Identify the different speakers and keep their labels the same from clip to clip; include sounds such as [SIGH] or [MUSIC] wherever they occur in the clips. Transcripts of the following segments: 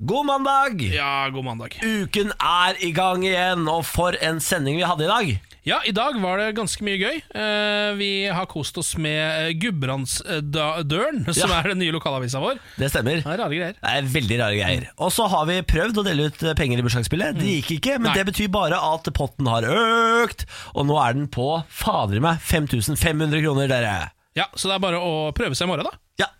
Speaker 1: God mandag!
Speaker 2: Ja, god mandag.
Speaker 1: Uken er i gang igjen, og for en sending vi hadde i dag.
Speaker 2: Ja, i dag var det ganske mye gøy. Eh, vi har kost oss med eh, Gudbrandsdølen, [LAUGHS] som
Speaker 1: Ja.
Speaker 2: er den nye lokalavisa vår.
Speaker 1: Det stemmer.
Speaker 2: Det er rare greier.
Speaker 1: Det er veldig rare greier. Og så har vi prøvd å dele ut eh, penger i bursdagsspillet. Det gikk ikke, men
Speaker 2: Nei.
Speaker 1: det betyr bare at potten har økt, og nå er den på fader i meg 5500 kroner, dere.
Speaker 2: Ja, Så det er bare å prøve seg i morgen, da.
Speaker 1: Ja.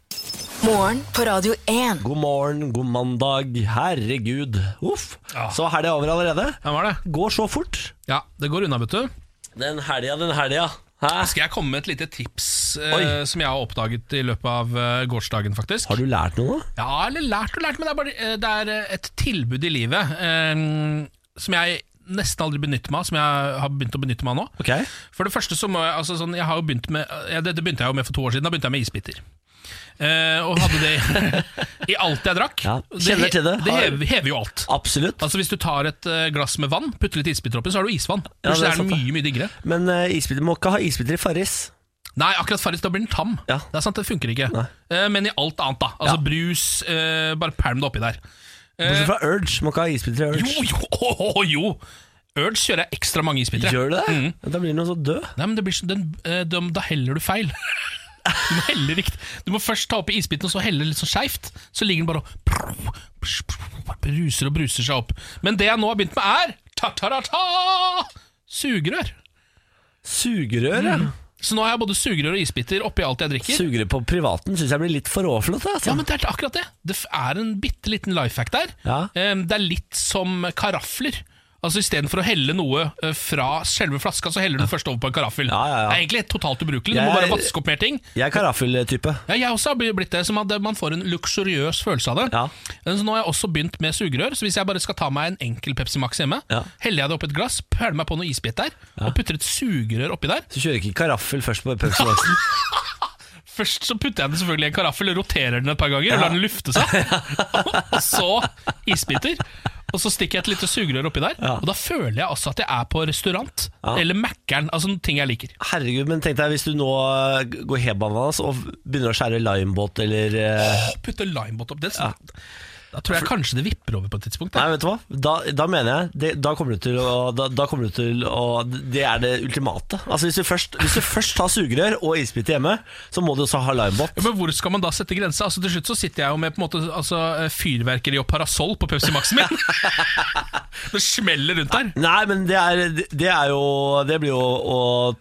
Speaker 3: Morgen på Radio 1.
Speaker 1: God morgen, god mandag. Herregud. Uff.
Speaker 2: Ja.
Speaker 1: Så er det over allerede.
Speaker 2: Ja, var det?
Speaker 1: Går så fort.
Speaker 2: Ja, det går unna, vet du.
Speaker 1: Den helga, den helga. Hæ?
Speaker 2: Skal jeg komme med et lite tips eh,
Speaker 1: Oi.
Speaker 2: som jeg har oppdaget i løpet av eh, gårsdagen, faktisk?
Speaker 1: Har du lært noe nå?
Speaker 2: Ja, eller lært og lært, men det er, bare, eh, det er eh, et tilbud i livet eh, som jeg nesten aldri benytter meg av, som jeg har begynt å benytte meg av nå.
Speaker 1: Ok.
Speaker 2: For det første så må jeg, altså sånn, jeg har jo begynt med ja, Dette begynte jeg jo med for to år siden, da begynte jeg med isbiter. Eh, og hadde det i alt jeg drakk.
Speaker 1: Ja, kjenner
Speaker 2: he-
Speaker 1: til det.
Speaker 2: Det
Speaker 1: Har-
Speaker 2: hever, hever jo alt.
Speaker 1: Absolutt.
Speaker 2: Altså Hvis du tar et eh, glass med vann, putter litt isbiter oppi, så har du isvann.
Speaker 1: Ja, det
Speaker 2: Plutselig
Speaker 1: er
Speaker 2: er den
Speaker 1: sant, det.
Speaker 2: mye, mye diggere.
Speaker 1: Men uh, isbiter må ikke ha isbiter i Farris.
Speaker 2: Nei, akkurat Farris, da blir den tam.
Speaker 1: Ja.
Speaker 2: Det er sant, det funker ikke. Eh, men i alt annet, da. Altså
Speaker 1: Ja.
Speaker 2: brus, eh, bare pælm det oppi der.
Speaker 1: Bortsett fra Urge. Må ikke ha isbiter i Urge.
Speaker 2: Eh, Jo, jo, [LAUGHS] å, jo! Urge kjører jeg ekstra mange isbiter.
Speaker 1: Gjør du det?
Speaker 2: Mm.
Speaker 1: Da blir den også død.
Speaker 2: Nei, men det blir sånn, den, eh, dem- da heller du feil. [LAUGHS] Du må helle riktig. Du må først ta oppi isbiten og så helle litt sånn skeivt. Så ligger den bare og bruser og bruser seg opp. Men det jeg nå har begynt med, er ta-ta-ta-ta! Sugerør.
Speaker 1: Sugerør,
Speaker 2: Mm.
Speaker 1: ja.
Speaker 2: Så nå har jeg både sugerør og isbiter oppi alt jeg drikker.
Speaker 1: Sugerør på privaten syns jeg blir litt for overflott. Altså.
Speaker 2: Ja, men Det er akkurat det. Det f- er en bitte liten life hack der.
Speaker 1: Ja.
Speaker 2: Eh, Det er litt som karafler. Altså Istedenfor å helle noe eh, fra selve flaska, så heller du først over på en karaffel.
Speaker 1: Ja, ja, ja.
Speaker 2: Det er egentlig totalt ubrukelig. Du
Speaker 1: Jeg
Speaker 2: må bare
Speaker 1: er-
Speaker 2: vaske opp mer ting.
Speaker 1: Jeg er karaffeltype.
Speaker 2: Ja, jeg også har bli- blitt det, som at man får en luksuriøs følelse av det.
Speaker 1: Ja.
Speaker 2: Men Så nå har jeg også begynt med sugerør, så hvis jeg bare skal ta meg en enkel Pepsi Max hjemme,
Speaker 1: Ja.
Speaker 2: heller jeg det oppi et glass, pæler meg på noe isbit der, og putter et sugerør oppi der.
Speaker 1: Så kjører jeg ikke karaffel først på Pepsi Maxen.
Speaker 2: Først så putter jeg den selvfølgelig i en karaffel, roterer den et par ganger, og lar den lufte seg.
Speaker 1: [LAUGHS]
Speaker 2: [LAUGHS] og så isbiter. Og så stikker jeg et lite sugerør oppi der, og da føler jeg også at jeg er på restaurant, eller Mækkern, altså ting jeg liker.
Speaker 1: Herregud, men tenk deg hvis du nå eh, går hebananas og begynner å skjære limebåt eller eh,
Speaker 2: Å, Putte limebåt opp, det er sant. Da tror jeg kanskje det vipper over på et tidspunkt.
Speaker 1: Nei,
Speaker 2: da.
Speaker 1: vet du hva? Da, da mener jeg det, Da kommer du til å da, da kommer du til å Det er det ultimate. Altså Hvis du først, hvis du først har sugerør og isbiter hjemme, så må du også ha limebåt.
Speaker 2: Ja, Men hvor skal man da sette grensa? Altså, til slutt så sitter jeg jo med på en måte, altså, fyrverkeri og parasoll på Pepsi Max-en [LAUGHS] min. det smeller rundt der.
Speaker 1: Nei, men det er, det er jo Det blir jo å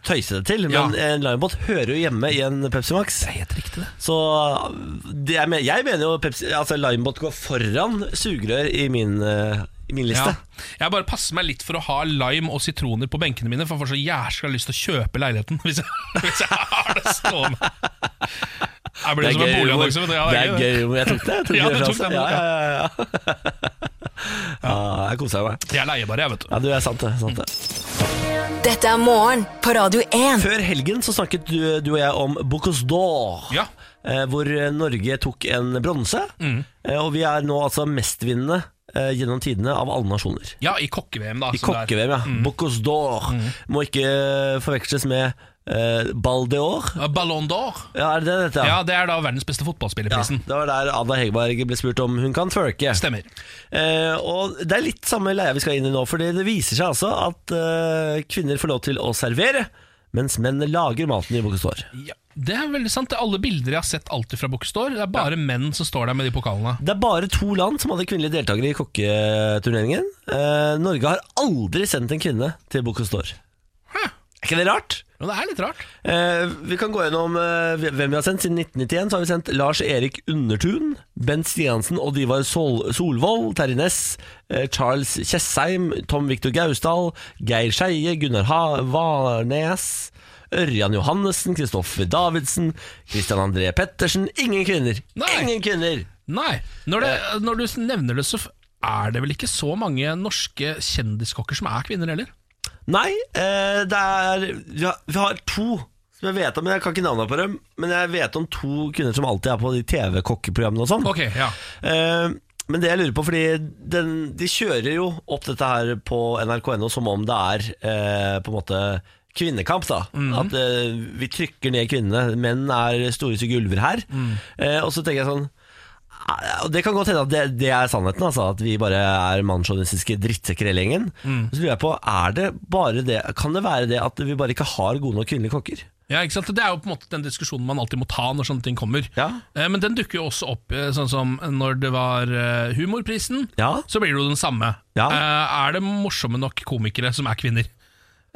Speaker 1: tøyse det til. Men
Speaker 2: Ja.
Speaker 1: en limebåt hører jo hjemme i en Pepsi Max.
Speaker 2: Det er helt riktig, det.
Speaker 1: Så det jeg, mener, jeg mener jo Pepsi, altså limebåt går foran sugerør i min, eh, i min
Speaker 2: Ja.
Speaker 1: liste.
Speaker 2: Jeg bare passer meg litt for å ha lime og sitroner på benkene mine, for jeg får så jæskla lyst til å kjøpe leiligheten [LAUGHS] hvis jeg, hvis jeg har det stående. Jeg blir som en boligannonse. vet du. Ja,
Speaker 1: det er gøy humor. Jeg tok det. Jeg tok
Speaker 2: [LAUGHS] Ja,
Speaker 1: det
Speaker 2: du tok
Speaker 1: fra seg.
Speaker 2: den,
Speaker 1: ja, ja, ja, ja. ja, jeg koser meg.
Speaker 2: Jeg er leiebare, jeg, vet du.
Speaker 1: Ja, du er sant det. Sant det.
Speaker 3: Dette er morgen på Radio 1.
Speaker 1: Før helgen så snakket du, du og jeg om Bocuse d'Or.
Speaker 2: Ja.
Speaker 1: eh, hvor Norge tok en bronse.
Speaker 2: Mm.
Speaker 1: Eh, og vi er nå altså mestvinnende eh, gjennom tidene av alle nasjoner.
Speaker 2: Ja, i kokke-VM, da.
Speaker 1: I
Speaker 2: som det er. Mm.
Speaker 1: kokke-VM, ja. Bocuse d'Or. Må ikke forveksles med eh, Ball d'Or.
Speaker 2: Ja, Ballon d'Or.
Speaker 1: Ja, er det det dette?
Speaker 2: Ja, det er da verdens beste fotballspillerprisen.
Speaker 1: Det var der Anna Hegerberg ble spurt om hun kan twerke.
Speaker 2: Stemmer.
Speaker 1: Eh, og Det er litt samme leia vi skal inn i nå, for det viser seg altså at eh, kvinner får lov til å servere, mens menn lager maten i Bocuse d'Or.
Speaker 2: Ja, det er veldig sant. Det er alle bilder jeg har sett alltid fra Bookstore. Det er bare menn som står der med de pokalene.
Speaker 1: Det er bare to land som hadde kvinnelige deltakere i kokketurneringen. Eh, Norge har aldri sendt en kvinne til Bocuse d'Or.
Speaker 2: Hæ?
Speaker 1: Er ikke det rart?
Speaker 2: Ja, det er litt rart.
Speaker 1: Eh, vi kan gå gjennom eh, hvem vi har sendt. Siden 1991 så har vi sendt Lars Erik Undertun, Bent Stiansen, Odd Ivar Sol Solvold, Terje Næss, eh, Charles Tjessheim, Tom Victor Gausdal, Geir Skeie, Gunnar ha Varnes, Ørjan Johannessen, Kristoffer Davidsen, Christian André Pettersen. Ingen kvinner!
Speaker 2: Nei.
Speaker 1: Ingen kvinner!
Speaker 2: Nei, når, det, når du nevner det, så f- er det vel ikke så mange norske kjendiskokker som er kvinner heller?
Speaker 1: Nei, eh, det er vi har, vi har to som jeg vet om, men jeg kan ikke navnet på dem. Men jeg vet om to kvinner som alltid er på de TV-kokkeprogrammene og sånn.
Speaker 2: Ok, ja.
Speaker 1: Eh, men det jeg lurer på, fordi den, de kjører jo opp dette her på nrk.no som om det er eh, på en måte kvinnekamp. da At eh, vi trykker ned kvinnene. Menn er store til gulver her. Eh, og så tenker jeg sånn og Det kan godt hende at det, det er sannheten, altså, at vi bare er mannssjåvinistiske drittsekker hele gjengen. Så lurer jeg på, er det bare det, kan det være det at vi bare ikke har gode nok kvinnelige kokker?
Speaker 2: Ja, ikke sant? Det er jo på en måte den diskusjonen man alltid må ta når sånne ting kommer.
Speaker 1: Ja.
Speaker 2: Eh, Men den dukker jo også opp, eh, sånn som når det var eh, Humorprisen,
Speaker 1: Ja.
Speaker 2: så blir det jo den samme.
Speaker 1: Ja.
Speaker 2: Eh, Er det morsomme nok komikere som er kvinner?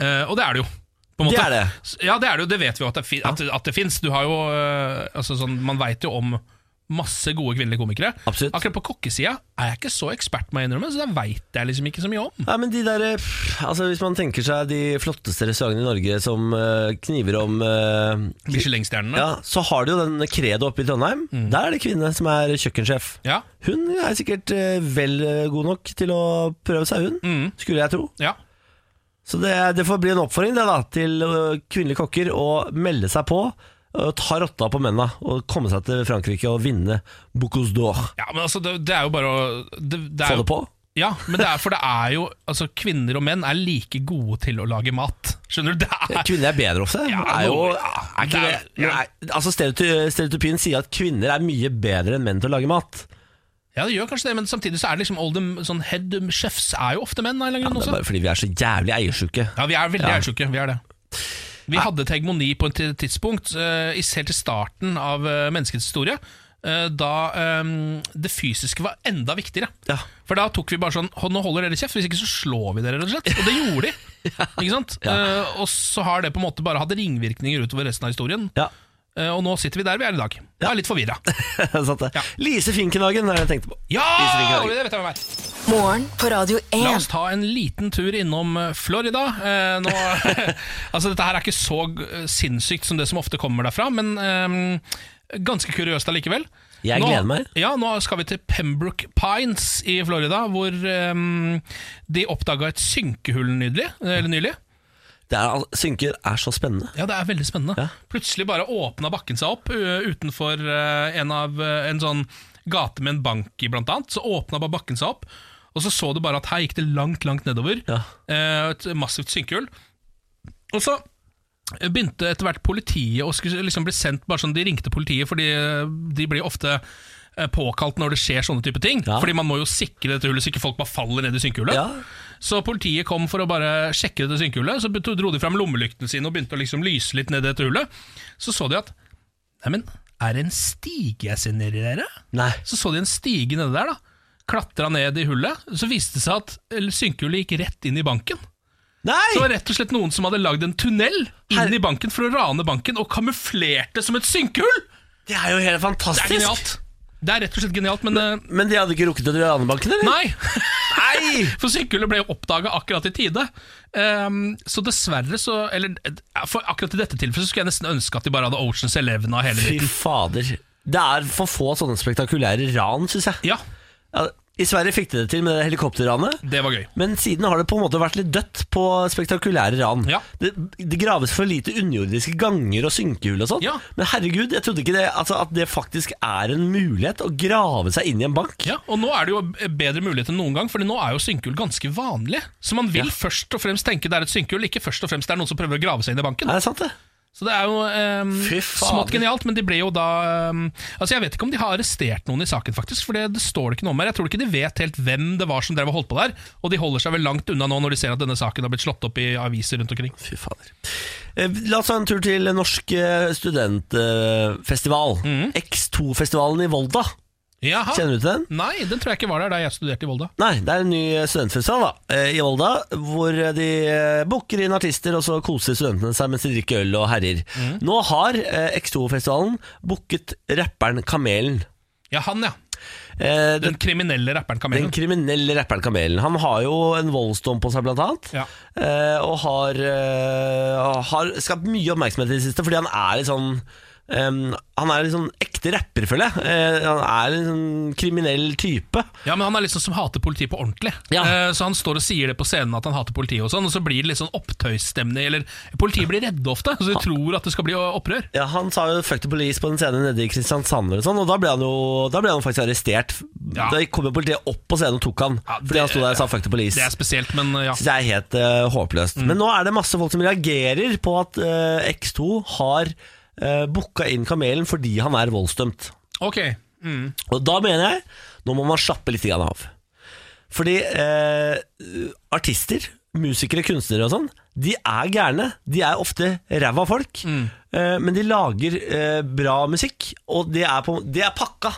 Speaker 2: Eh, Og det er det jo. På en
Speaker 1: Det
Speaker 2: måte.
Speaker 1: er det.
Speaker 2: S- Ja, det er det jo. Det vet vi jo at det, fin- at, at det fins. Du har jo eh, altså sånn, Man veit jo om masse gode kvinnelige komikere.
Speaker 1: Absolutt.
Speaker 2: Akkurat på kokkesida er jeg ikke så ekspert, må jeg innrømme, så det veit jeg liksom ikke så mye om.
Speaker 1: Nei, men de der, pff, altså Hvis man tenker seg de flotteste restaurantene i Norge som eh, kniver om eh,
Speaker 2: Michelin-stjernene.
Speaker 1: Ja, Så har du jo den Credo oppe i Trondheim. Der er det kvinne som er kjøkkensjef.
Speaker 2: Ja.
Speaker 1: Hun er sikkert eh, vel eh, god nok til å prøve seg, hun. Skulle jeg tro.
Speaker 2: ja.
Speaker 1: Så det, det får bli en oppfordring det da, til eh, kvinnelige kokker å melde seg på. Og ta rotta på mennene og komme seg til Frankrike og vinne Bocuse d'Or.
Speaker 2: Ja, men altså, det, det er jo bare å det, det er
Speaker 1: Få
Speaker 2: jo,
Speaker 1: det på.
Speaker 2: Ja, men det er, for det er jo altså, Kvinner og menn er like gode til å lage mat. Skjønner du? Det er,
Speaker 1: Eh, Kvinner er bedre ofte.
Speaker 2: Ja,
Speaker 1: er jo,
Speaker 2: nå-
Speaker 1: er ikke
Speaker 2: det er-
Speaker 1: det, nei, altså stereoty- Stereotypien sier at kvinner er mye bedre enn menn til å lage mat.
Speaker 2: ja, det gjør kanskje det, men samtidig så er det liksom all the sånn head chefs er jo ofte menn. av en eller annen grunn
Speaker 1: Det er
Speaker 2: også.
Speaker 1: bare fordi vi er så jævlig eiersjuke.
Speaker 2: Ja, vi er veldig ærtjukke. Vi er det. Vi hadde et hegemoni på et ti- tidspunkt, eh, i- helt til starten av eh, menneskets historie, eh, da eh, det fysiske var enda viktigere.
Speaker 1: Ja.
Speaker 2: For da tok vi bare sånn «Hå, Nå holder dere kjeft, hvis ikke så slår vi dere, rett og slett. Og det gjorde
Speaker 1: [LAUGHS]
Speaker 2: de. Ikke sant? Eh, og så har det på en måte bare hatt ringvirkninger utover resten av historien.
Speaker 1: Ja, [LAUGHS]
Speaker 2: Eh, og nå sitter vi der vi er i dag. Jeg er litt forvirra.
Speaker 1: sant det.
Speaker 2: Ja.
Speaker 1: Lise Finkenhagen er det jeg tenkte på.
Speaker 2: Ja!
Speaker 1: Lise Finkenhagen.
Speaker 2: Det vet jeg hvem er.
Speaker 3: Morgen på Radio
Speaker 2: La oss
Speaker 3: 1.
Speaker 2: ta en liten tur innom eh, Florida. Eh, nå, [LAUGHS] altså Dette her er ikke så eh, sinnssykt som det som ofte kommer derfra, men eh, ganske kuriøst allikevel.
Speaker 1: Jeg
Speaker 2: nå,
Speaker 1: gleder meg.
Speaker 2: Ja, Nå skal vi til Pembroke Pines i Florida, hvor eh, de oppdaga et synkehull nydelig, eller nylig.
Speaker 1: Det er, al- synker er så spennende.
Speaker 2: Ja, det er veldig spennende.
Speaker 1: Ja.
Speaker 2: Plutselig bare åpna bakken seg opp ø, utenfor ø, en, av, ø, en sånn gate med en bank i, blant annet. Så åpna bare bakken seg opp, og så så du bare at her gikk det langt, langt nedover.
Speaker 1: Ja.
Speaker 2: Eh, Et massivt synkehull. Og så begynte etter hvert politiet å skulle liksom bli sendt bare sånn, De ringte politiet, fordi eh, de blir ofte eh, påkalt når det skjer sånne type ting.
Speaker 1: Ja.
Speaker 2: Fordi man må jo sikre dette hullet, så ikke folk bare faller ned i synkehullet.
Speaker 1: Ja.
Speaker 2: Så politiet kom for å bare sjekke dette synkehullet, så begynte- dro de fram lommelyktene sine og begynte å liksom lyse litt ned i dette hullet. Så så de at Neimen, er det en stige jeg ser nedi der? ja?»
Speaker 1: Nei.
Speaker 2: Så så de en stige nede der, da. Klatra ned i hullet. Så viste det seg at eh, synkehullet gikk rett inn i banken.
Speaker 1: Nei!
Speaker 2: Det var rett og slett noen som hadde lagd en tunnel inn i banken for å rane banken og kamuflerte som et synkehull!
Speaker 1: Det er jo helt
Speaker 2: Det
Speaker 1: fantastisk.
Speaker 2: er genialt. Det er rett og slett genialt, men eh,
Speaker 1: Men de hadde ikke rukket å dra Ranebanken, eller?
Speaker 2: Nei!
Speaker 1: Nei!
Speaker 2: [LAUGHS] For synkehullet ble jo oppdaga akkurat i tide. Ehm, så dessverre så Eller eh, for akkurat i dette tilfellet så skulle jeg nesten ønske at de bare hadde Oceans Eleven av hele
Speaker 1: Fy
Speaker 2: dritten.
Speaker 1: fader. Det er for få sånne spektakulære ran, syns jeg.
Speaker 2: Ja,
Speaker 1: Ja, I Sverige fikk de det til med det helikopterranet.
Speaker 2: det var gøy.
Speaker 1: Men siden har det på en måte vært litt dødt på spektakulære ran.
Speaker 2: Ja.
Speaker 1: Det, det graves for lite underjordiske ganger og synkehull og sånn.
Speaker 2: Ja.
Speaker 1: Men herregud, jeg trodde ikke det, altså, at det faktisk er en mulighet å grave seg inn i en bank.
Speaker 2: Ja, og nå er det jo bedre mulighet enn noen gang, Fordi nå er jo synkehull ganske vanlig. Så man vil først og fremst tenke det er et synkehull, ikke først og fremst det er noen som prøver å grave seg inn i banken.
Speaker 1: Er det sant, det?
Speaker 2: Så det er jo ehm,
Speaker 1: Fy fader.
Speaker 2: smått genialt, men de ble jo da ehm, Altså Jeg vet ikke om de har arrestert noen i saken, faktisk. For det, det står det ikke noe om her. Jeg tror ikke de vet helt hvem det var som drev og holdt på der. Og de holder seg vel langt unna nå når de ser at denne saken har blitt slått opp i aviser rundt omkring.
Speaker 1: Fy fader. Eh, La oss ta en tur til Norsk eh, studentfestival.
Speaker 2: Mhm.
Speaker 1: X2-festivalen i Volda.
Speaker 2: Jaha.
Speaker 1: Kjenner du til den?
Speaker 2: Nei, den tror jeg ikke var der da jeg studerte i Volda.
Speaker 1: Nei, det er en ny studentfestival da, eh, i Volda, hvor de eh, booker inn artister, og så koser studentene seg mens de drikker øl og herjer. Nå har eh, X2-festivalen booket rapperen Kamelen.
Speaker 2: Ja, han, ja.
Speaker 1: Eh, Den,
Speaker 2: Den kriminelle rapperen
Speaker 1: den
Speaker 2: Kamelen.
Speaker 1: kriminelle rapperen Kamelen. Han har jo en voldsdom på seg, blant annet.
Speaker 2: Ja.
Speaker 1: eh, Og har, eh, har skapt mye oppmerksomhet i det siste, fordi han er litt sånn em, han er litt sånn ekte rapper, føler jeg. Eh, han er en sånn kriminell type.
Speaker 2: Ja, men Han er liksom som hater politiet på ordentlig.
Speaker 1: Ja.
Speaker 2: Eh, Så Han står og sier det på scenen at han hater politiet, og sånn Og så blir det litt sånn opptøysstemning. Eller Politiet blir redde ofte, så de tror at det skal bli opprør.
Speaker 1: Ja, Han sa jo 'fuck the police' på den scenen nede i Kristiansand, og sånn Og da ble han jo da ble han faktisk arrestert.
Speaker 2: Ja.
Speaker 1: Da kom jo politiet opp på scenen og tok han
Speaker 2: Ja, det-
Speaker 1: fordi han sto der og sa 'fuck the police'.
Speaker 2: Det er spesielt, Mm. men eh, ja.
Speaker 1: Synes jeg er helt eh, håpløst. Men nå er det masse folk som reagerer på at eh, X2 har uh, booka inn Kamelen fordi han er voldsdømt.
Speaker 2: Ok. Mm.
Speaker 1: Og da mener jeg Nå må man slappe litt grann av Fordi eh, artister Musikere, kunstnere og sånn De er gærne, de er ofte ræva folk
Speaker 2: Mm.
Speaker 1: eh, Men de lager eh, bra musikk Og det er, på, det er pakka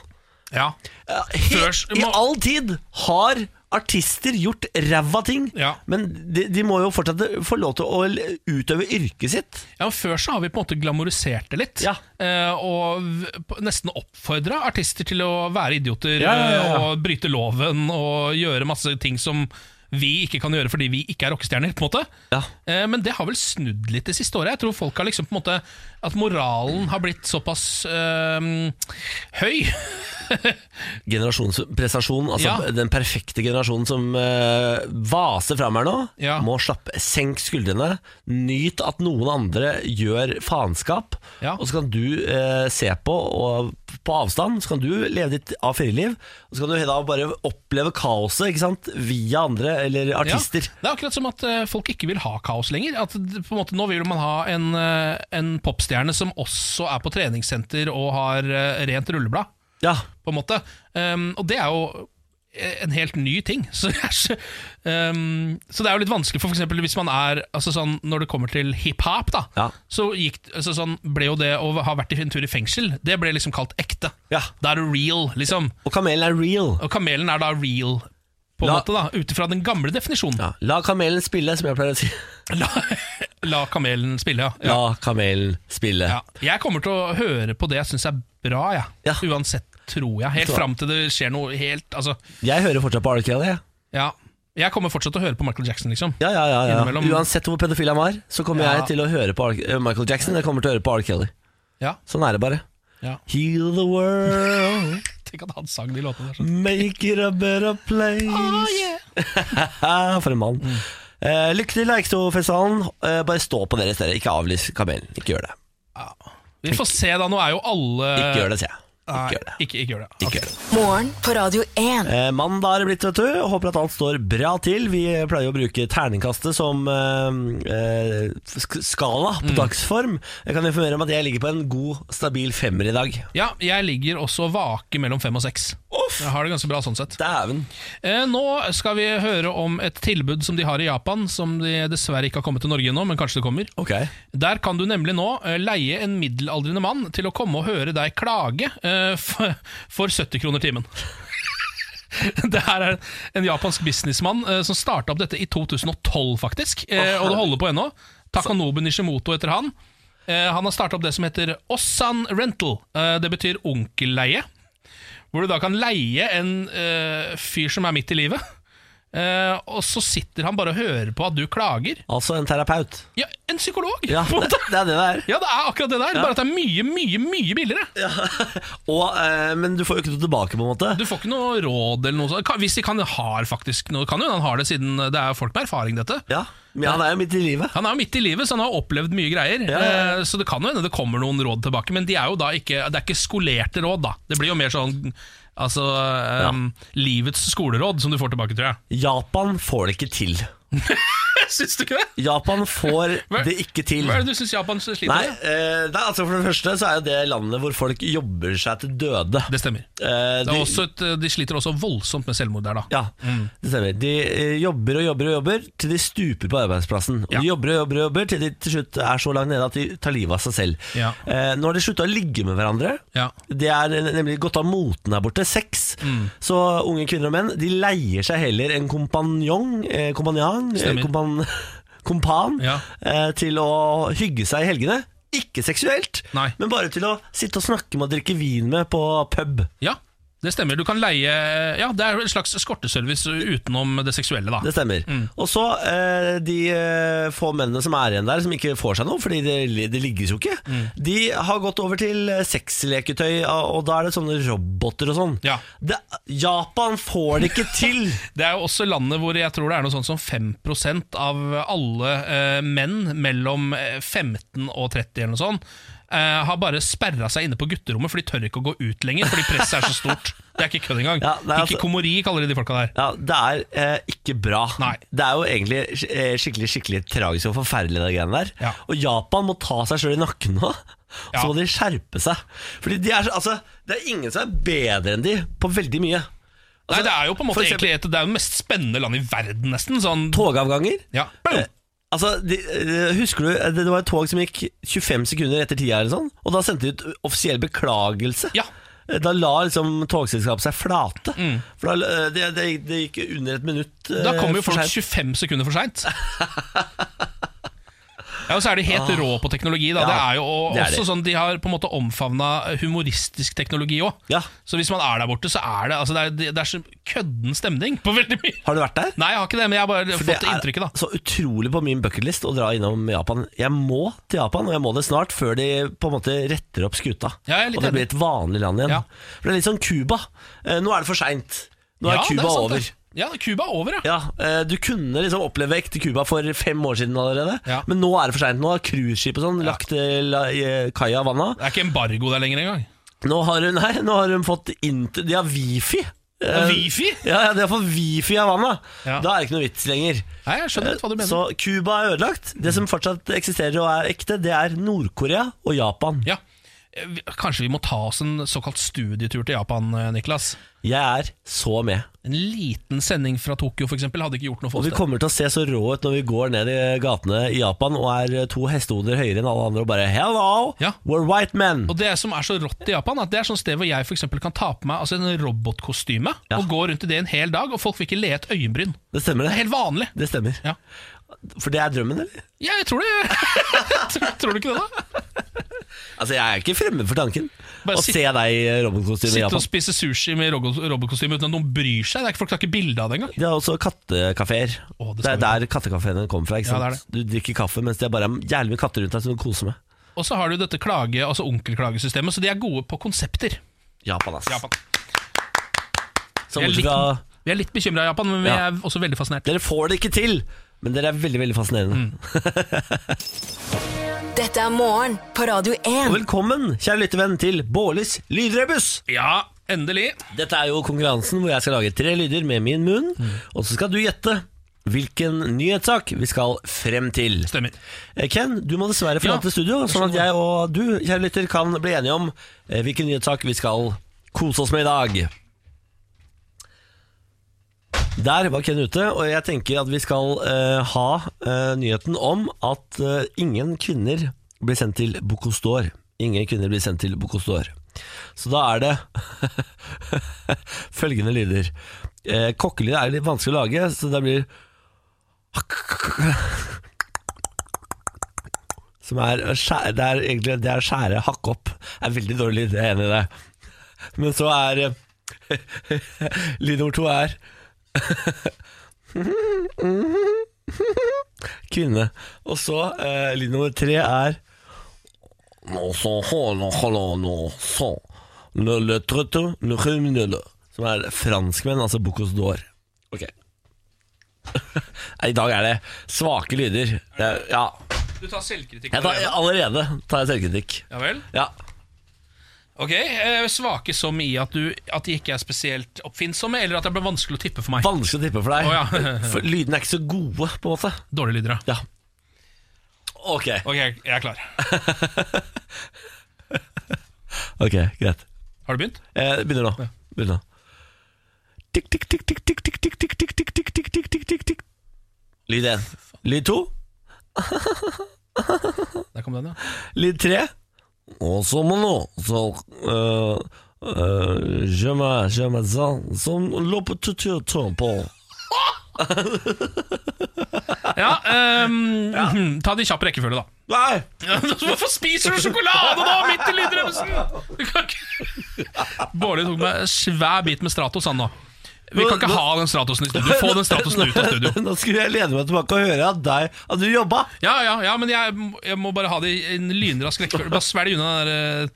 Speaker 2: Ja.
Speaker 1: Eh, he,
Speaker 2: Først
Speaker 1: I
Speaker 2: må-
Speaker 1: all tid har artister gjort ræva ting
Speaker 2: Ja.
Speaker 1: Men de, de må jo fortsatt få lov til å l- utøve yrket sitt
Speaker 2: Ja, men Før så har vi på en måte glamorisert det litt.
Speaker 1: Ja.
Speaker 2: eh, Og v- på- nesten oppfordra artister til å være idioter
Speaker 1: Ja, ja, ja, ja.
Speaker 2: eh, og bryte loven og gjøre masse ting som vi ikke kan gjøre fordi vi ikke er rockestjerner. på en måte
Speaker 1: Ja.
Speaker 2: Eh, Men det har vel snudd litt det siste året. Jeg tror folk har liksom på en måte At moralen har blitt såpass eh, høy.
Speaker 1: generasjonsprestasjon, altså
Speaker 2: Ja.
Speaker 1: den perfekte generasjonen som eh, vaser fram her nå,
Speaker 2: Ja.
Speaker 1: må slappe Senk skuldrene, nyt at noen andre gjør faenskap,
Speaker 2: Ja.
Speaker 1: og så kan du eh, se på og på avstand, så kan du leve ditt A4-liv, og så kan du da bare oppleve kaoset, ikke sant, via andre eller artister.
Speaker 2: Ja, det er akkurat som at eh, folk ikke vil ha kaos lenger. At d- på en måte Nå vil man ha en, eh, en popstjerne som også er på treningssenter og har eh, rent rulleblad,
Speaker 1: Ja,
Speaker 2: på en måte. Um, og det er jo eh, en helt ny ting. [LAUGHS] Så, det er så- um, så det er jo litt vanskelig for f.eks. hvis man er altså sånn, Når det kommer til hiphop, da,
Speaker 1: Ja.
Speaker 2: så gikk, altså sånn, ble jo det å ha vært i en tur i fengsel Det ble liksom kalt ekte.
Speaker 1: Ja.
Speaker 2: Da er du real, liksom.
Speaker 1: og kamelen er real.
Speaker 2: Og kamelen er da real, på en
Speaker 1: La-
Speaker 2: måte, da ut ifra den gamle definisjonen.
Speaker 1: Ja. La kamelen spille, som jeg pleier å si.
Speaker 2: [LAUGHS] La, la kamelen spille, ja. ja.
Speaker 1: La kamelen spille.
Speaker 2: ja. Jeg kommer til å høre på det jeg syns er bra, jeg.
Speaker 1: Ja.
Speaker 2: Uansett, tror jeg. Helt
Speaker 1: Så-
Speaker 2: fram til det skjer noe helt Altså,
Speaker 1: Jeg hører fortsatt på R. Kelly, jeg.
Speaker 2: ja. Jeg kommer fortsatt til å høre på Michael Jackson, liksom.
Speaker 1: Ja, ja, ja, ja.
Speaker 2: Innimellom-
Speaker 1: Uansett hvor pedofil han var, så kommer
Speaker 2: Ja.
Speaker 1: jeg til å høre på Ar- eh, Michael Jackson. Jeg kommer til å høre på R. Kelly.
Speaker 2: Ja.
Speaker 1: Sånn er det bare.
Speaker 2: Ja.
Speaker 1: Heal the world, [LAUGHS]
Speaker 2: Tenk at han sang de låtene der. sånn.
Speaker 1: make it a better place. For en mann.
Speaker 2: Mm.
Speaker 1: Eh, lykke til Eikstofestivalen. Eh, bare stå på deres dere. Ikke avlys kamelen. Ikke gjør det.
Speaker 2: Vi får se, da. Nå er jo alle
Speaker 1: Ikke gjør det, sier jeg. Ikke gjør det.
Speaker 2: Eh, Nei, ikke, ikke gjør det.
Speaker 1: Ikke
Speaker 2: Ok.
Speaker 1: gjør det.
Speaker 3: Morgen på Radio 1.
Speaker 1: Eh, mandag er det blitt, vet du. Håper at alt står bra til. Vi pleier å bruke terningkastet som eh, eh, sk- skala
Speaker 2: Mm.
Speaker 1: på dagsform. Jeg kan informere om at jeg ligger på en god, stabil femmer i dag.
Speaker 2: Ja, jeg ligger også vake mellom fem og seks. Jeg har det ganske bra sånn sett.
Speaker 1: Dæven.
Speaker 2: Eh, nå skal vi høre om et tilbud som de har i Japan, som de dessverre ikke har kommet til Norge ennå, men kanskje det kommer.
Speaker 1: Ok.
Speaker 2: Der kan du nemlig nå eh, leie en middelaldrende mann til å komme og høre deg klage eh, for, for 70 kroner timen. [LAUGHS] Det her er en japansk businessmann eh, som starta opp dette i 2012, faktisk. eh, Og det holder på ennå. Takanobu Nishimoto heter han. Eh, Han har starta opp det som heter Ossan Rental. Eh, Det betyr onkelleie. Hvor du da kan leie en eh, fyr som er midt i livet. Eh, og så sitter han bare og hører på at du klager.
Speaker 1: Altså en terapeut.
Speaker 2: Ja, en psykolog!
Speaker 1: Ja,
Speaker 2: på en
Speaker 1: [LAUGHS] det,
Speaker 2: måte.
Speaker 1: det er det det er.
Speaker 2: Ja, det er akkurat det der, bare at det er mye, mye mye billigere.
Speaker 1: [LAUGHS] Og, eh, men du får jo ikke noe tilbake, på en måte.
Speaker 2: Du får ikke noe råd eller noe sånt. Kan- Hvis de kan har faktisk noe, kan jo han har det siden det er folk med erfaring, dette.
Speaker 1: Ja, men han er jo midt i livet.
Speaker 2: Han er jo midt i livet, så han har opplevd mye greier.
Speaker 1: Ja, ja,
Speaker 2: Eh, Så det kan jo hende det kommer noen råd tilbake, men de er jo da ikke, det er ikke skolerte råd, da. Det blir jo mer sånn altså, eh, livets skoleråd som du får
Speaker 1: [LAUGHS]
Speaker 2: tilbake, tror jeg.
Speaker 1: Japan får det ikke til.
Speaker 2: Syns du ikke det?
Speaker 1: Japan [LAUGHS] får
Speaker 2: Hva-
Speaker 1: det ikke til.
Speaker 2: Hva er det du syns Japan sliter
Speaker 1: Nei,
Speaker 2: med?
Speaker 1: eh, det er altså For det første så er jo det landet hvor folk jobber seg til døde.
Speaker 2: Det stemmer.
Speaker 1: Eh,
Speaker 2: Det
Speaker 1: de-
Speaker 2: er også et, de sliter også voldsomt med selvmord der, da.
Speaker 1: Ja, det stemmer. De eh, jobber og jobber og jobber til de stuper på arbeidsplassen. Og
Speaker 2: Ja.
Speaker 1: de jobber og jobber og jobber til de til slutt er så langt nede at de tar livet av seg selv.
Speaker 2: Ja.
Speaker 1: Eh, nå har de slutta å ligge med hverandre.
Speaker 2: Ja.
Speaker 1: Det er nemlig gått av moten her borte. Sex.
Speaker 2: Mm.
Speaker 1: Så unge kvinner og menn De leier seg heller en kompanjong, eh, kompanjong eh,
Speaker 2: Stemmer.
Speaker 1: kompan, [LAUGHS] kompan
Speaker 2: Ja.
Speaker 1: eh, til å hygge seg i helgene. Ikke seksuelt,
Speaker 2: Nei.
Speaker 1: men bare til å sitte og snakke med og drikke vin med på pub.
Speaker 2: Ja, det stemmer. Du kan leie Ja, det er jo en slags eskorteservice utenom det seksuelle, da.
Speaker 1: Det stemmer.
Speaker 2: Mm.
Speaker 1: Og så eh, de eh, få mennene som er igjen der, som ikke får seg noe, fordi det, det ligges jo ikke,
Speaker 2: Mm.
Speaker 1: de har gått over til eh, sexleketøy, og og da er det sånne roboter og sånn.
Speaker 2: Ja.
Speaker 1: Det, Japan får det ikke
Speaker 2: [LAUGHS]
Speaker 1: til!
Speaker 2: Det er jo også landet hvor jeg tror det er noe sånt som 5 av alle eh, menn mellom eh, 15 og 30 eller noe sånt, eh, har bare sperra seg inne på gutterommet, for de tør ikke å gå ut lenger, fordi presset er så stort. Det er ikke kødd engang.
Speaker 1: [LAUGHS] Ja, det er altså-
Speaker 2: Hikikomori kaller de de folka der.
Speaker 1: Ja, Det er eh, ikke bra.
Speaker 2: Nei.
Speaker 1: Det er jo egentlig sk- eh, skikkelig skikkelig tragisk og forferdelig, det greiene der.
Speaker 2: Ja.
Speaker 1: Og Japan må ta seg sjøl i nakken nå. Så må de skjerpe seg. Fordi de er, så- altså, Det er ingen som er bedre enn de på veldig mye. Altså,
Speaker 2: Nei, det er jo på en måte
Speaker 1: for eksempel-
Speaker 2: egentlig et, det er jo det mest spennende landet i verden, nesten. Sånn,
Speaker 1: Togavganger.
Speaker 2: ja.
Speaker 1: Eh, Altså, de, eh, Husker du eh, det det var et tog som gikk 25 sekunder etter tida, eller sånn, og da sendte de ut offisiell beklagelse?
Speaker 2: Ja. Mm.
Speaker 1: Eh, Da la liksom togselskapet seg flate. For da, eh, det, det, det gikk under et minutt. eh,
Speaker 2: Da kommer jo
Speaker 1: for
Speaker 2: folk
Speaker 1: sent.
Speaker 2: 25 sekunder for
Speaker 1: [LAUGHS]
Speaker 2: seint. Ja, og så er de helt rå på teknologi. Da.
Speaker 1: Ah. Ja,
Speaker 2: det er jo og,
Speaker 1: det er
Speaker 2: også
Speaker 1: de.
Speaker 2: sånn De har på en måte omfavna humoristisk teknologi òg.
Speaker 1: Ja.
Speaker 2: Så hvis man er der borte, så er det altså, det, er, det er så kødden stemning på veldig mye. [LAUGHS]
Speaker 1: Har du vært der?
Speaker 2: Nei, jeg har ikke det, men jeg har bare
Speaker 1: For
Speaker 2: fått det inntrykket, da.
Speaker 1: så utrolig på min bucketlist å dra innom Japan. Jeg må til Japan, og jeg må det snart, før de på en måte retter opp skuta.
Speaker 2: Ja, jeg er litt
Speaker 1: og det
Speaker 2: enig.
Speaker 1: blir et vanlig land igjen.
Speaker 2: Ja.
Speaker 1: For det er litt sånn Cuba. Eh, Nå er det for seint. Nå er
Speaker 2: Ja, det
Speaker 1: Cuba
Speaker 2: sant,
Speaker 1: over.
Speaker 2: det. Ja, Cuba er over, ja.
Speaker 1: Ja, eh, Du kunne liksom oppleve ekte Cuba for fem år siden allerede,
Speaker 2: Ja.
Speaker 1: men nå er det for seint. Nå har cruiseskip og sånn lagt eh, la- i, eh, kaia i vannet.
Speaker 2: Det er ikke embargo der lenger engang.
Speaker 1: Nå har hun, [LAUGHS] nei, nå har hun fått int... De har wifi. Eh,
Speaker 2: Wifi?
Speaker 1: Ja, ja, de har fått wifi av vannet.
Speaker 2: Ja.
Speaker 1: Da er det ikke noe vits lenger.
Speaker 2: Nei, jeg skjønner litt hva du mener.
Speaker 1: Så Cuba er ødelagt. Det som fortsatt eksisterer og er ekte, det er Nord-Korea og Japan.
Speaker 2: Ja. Eh, vi- Kanskje vi må ta oss en såkalt studietur til Japan, eh, Niklas.
Speaker 1: Jeg er så med.
Speaker 2: En liten sending fra Tokyo for eksempel, hadde ikke gjort noe for
Speaker 1: Og vi
Speaker 2: oss. det.
Speaker 1: kommer til å se så rå ut når vi går ned i gatene i Japan og er to hestehoder høyere enn alle andre og bare Hello,
Speaker 2: Ja.
Speaker 1: we're white men.
Speaker 2: Og Det som er så rått i Japan, at det er sånn sted hvor jeg for eksempel kan ta på meg altså en robotkostyme
Speaker 1: Ja.
Speaker 2: og gå rundt i det en hel dag, og folk vil ikke le et øyenbryn.
Speaker 1: Det stemmer,
Speaker 2: Det er
Speaker 1: det.
Speaker 2: helt vanlig.
Speaker 1: Det stemmer.
Speaker 2: Ja.
Speaker 1: For det er drømmen, eller?
Speaker 2: Ja, jeg tror det. [LAUGHS] tror, tror du ikke det, da?
Speaker 1: Altså, jeg er ikke fremmed for tanken.
Speaker 2: Bare
Speaker 1: å
Speaker 2: sitt-
Speaker 1: se deg i robotkostyme i
Speaker 2: Sitte og
Speaker 1: Japan.
Speaker 2: spise sushi med rogo- robotkostyme uten at noen bryr seg. Det er ikke Folk tar ikke bilde av det engang.
Speaker 1: De har også kattekafeer.
Speaker 2: Å, det
Speaker 1: det,
Speaker 2: skal
Speaker 1: er der kattekafeene kommer fra. ikke
Speaker 2: Ja,
Speaker 1: sant?
Speaker 2: det er
Speaker 1: Du drikker kaffe mens det er bare jævlig mye katter rundt deg som du koser med.
Speaker 2: Og så har du dette klage, altså onkelklagesystemet, så de er gode på konsepter.
Speaker 1: Japan, ass.
Speaker 2: Japan.
Speaker 1: Så
Speaker 2: Jeg er
Speaker 1: bortsett
Speaker 2: litt-
Speaker 1: fra-
Speaker 2: Vi er litt bekymra i Japan, men vi
Speaker 1: Ja.
Speaker 2: er også veldig fascinert.
Speaker 1: Dere får det ikke til, men dere er veldig veldig fascinerende.
Speaker 2: Mm.
Speaker 3: Dette er morgen på Radio
Speaker 1: Og
Speaker 3: 1.
Speaker 1: velkommen, kjære lyttevenn, til Bårlis lydrebus.
Speaker 2: Ja, endelig.
Speaker 1: Dette er jo konkurransen hvor jeg skal lage tre lyder med min munn,
Speaker 2: Mm.
Speaker 1: og så skal du gjette hvilken nyhetssak vi skal frem til.
Speaker 2: Stemmer.
Speaker 1: Eh, Ken, du må dessverre
Speaker 2: Ja.
Speaker 1: forlate studio, sånn at jeg og du, kjære lytter, kan bli enige om eh, hvilken nyhetssak vi skal kose oss med i dag. Der var Ken ute, og jeg tenker at vi skal eh, ha eh, nyheten om at eh, ingen kvinner blir sendt til Bocostor. Ingen kvinner blir sendt til Bocostor. Så da er det [LAUGHS] følgende lyder. Eh, kokkelyd er litt vanskelig å lage, så det blir Som er skjære, det er egentlig det er skjære hakk opp. Det er veldig dårlig lyd, jeg er enig i det. Men så er eh, [LAUGHS] Lyd nummer to er [LAUGHS] Kvinne. Og så eh, lyd nummer tre er Nå så holder- holder nå så. Le- le trøtte, le criminelle. Som er franskmenn, altså Bocuse d'Or. Ok. [LAUGHS] Nei, I dag er det svake lyder. Det er, ja.
Speaker 2: Du tar selvkritikk.
Speaker 1: Jeg tar,
Speaker 2: allerede.
Speaker 1: allerede tar jeg selvkritikk.
Speaker 2: Ja vel?
Speaker 1: Ja.
Speaker 2: Ok, eh, Svake som i at, du, at de ikke er spesielt oppfinnsomme, eller at det ble vanskelig å tippe for meg.
Speaker 1: Vanskelig å tippe for deg.
Speaker 2: Å, ja.
Speaker 1: [LAUGHS] for lydene er ikke så gode, på en måte.
Speaker 2: Dårlige lyder, ja.
Speaker 1: Ja. Ok,
Speaker 2: Ok, jeg er klar.
Speaker 1: ok, greit.
Speaker 2: Har du begynt?
Speaker 1: Eh, begynner nå. Begynner nå. Tikk, tikk, tikk, tikk, tikk, tikk, tikk, tikk, tikk, tikk, tikk, tikk, tikk, tikk, tikk. Lyd én. Lyd to.
Speaker 2: Der kom den, ja.
Speaker 1: Lyd tre. Og så må nå så øh, øh, Je me- je me sens som loppetutur på.
Speaker 2: Ja, [LAUGHS] ehm, mhm, Ta det i kjapp rekkefølge, da. [LAUGHS]
Speaker 1: Nei!
Speaker 2: Hvorfor spiser du sjokolade nå, midt i lydremsen?! Du kan ikke- [LAUGHS] Bårli tok meg en svær bit med Stratos, han nå. Vi kan ikke ha den Stratosen i studio. Få den Stratosen ut av studio.
Speaker 1: [LAUGHS]
Speaker 2: [LAUGHS]
Speaker 1: Nå skulle jeg lene meg tilbake og høre at, deg, at du jobba.
Speaker 2: Ja, ja, ja, men jeg, jeg må bare ha det i en lynrask rekkefølge. Bare svelg unna den der eh,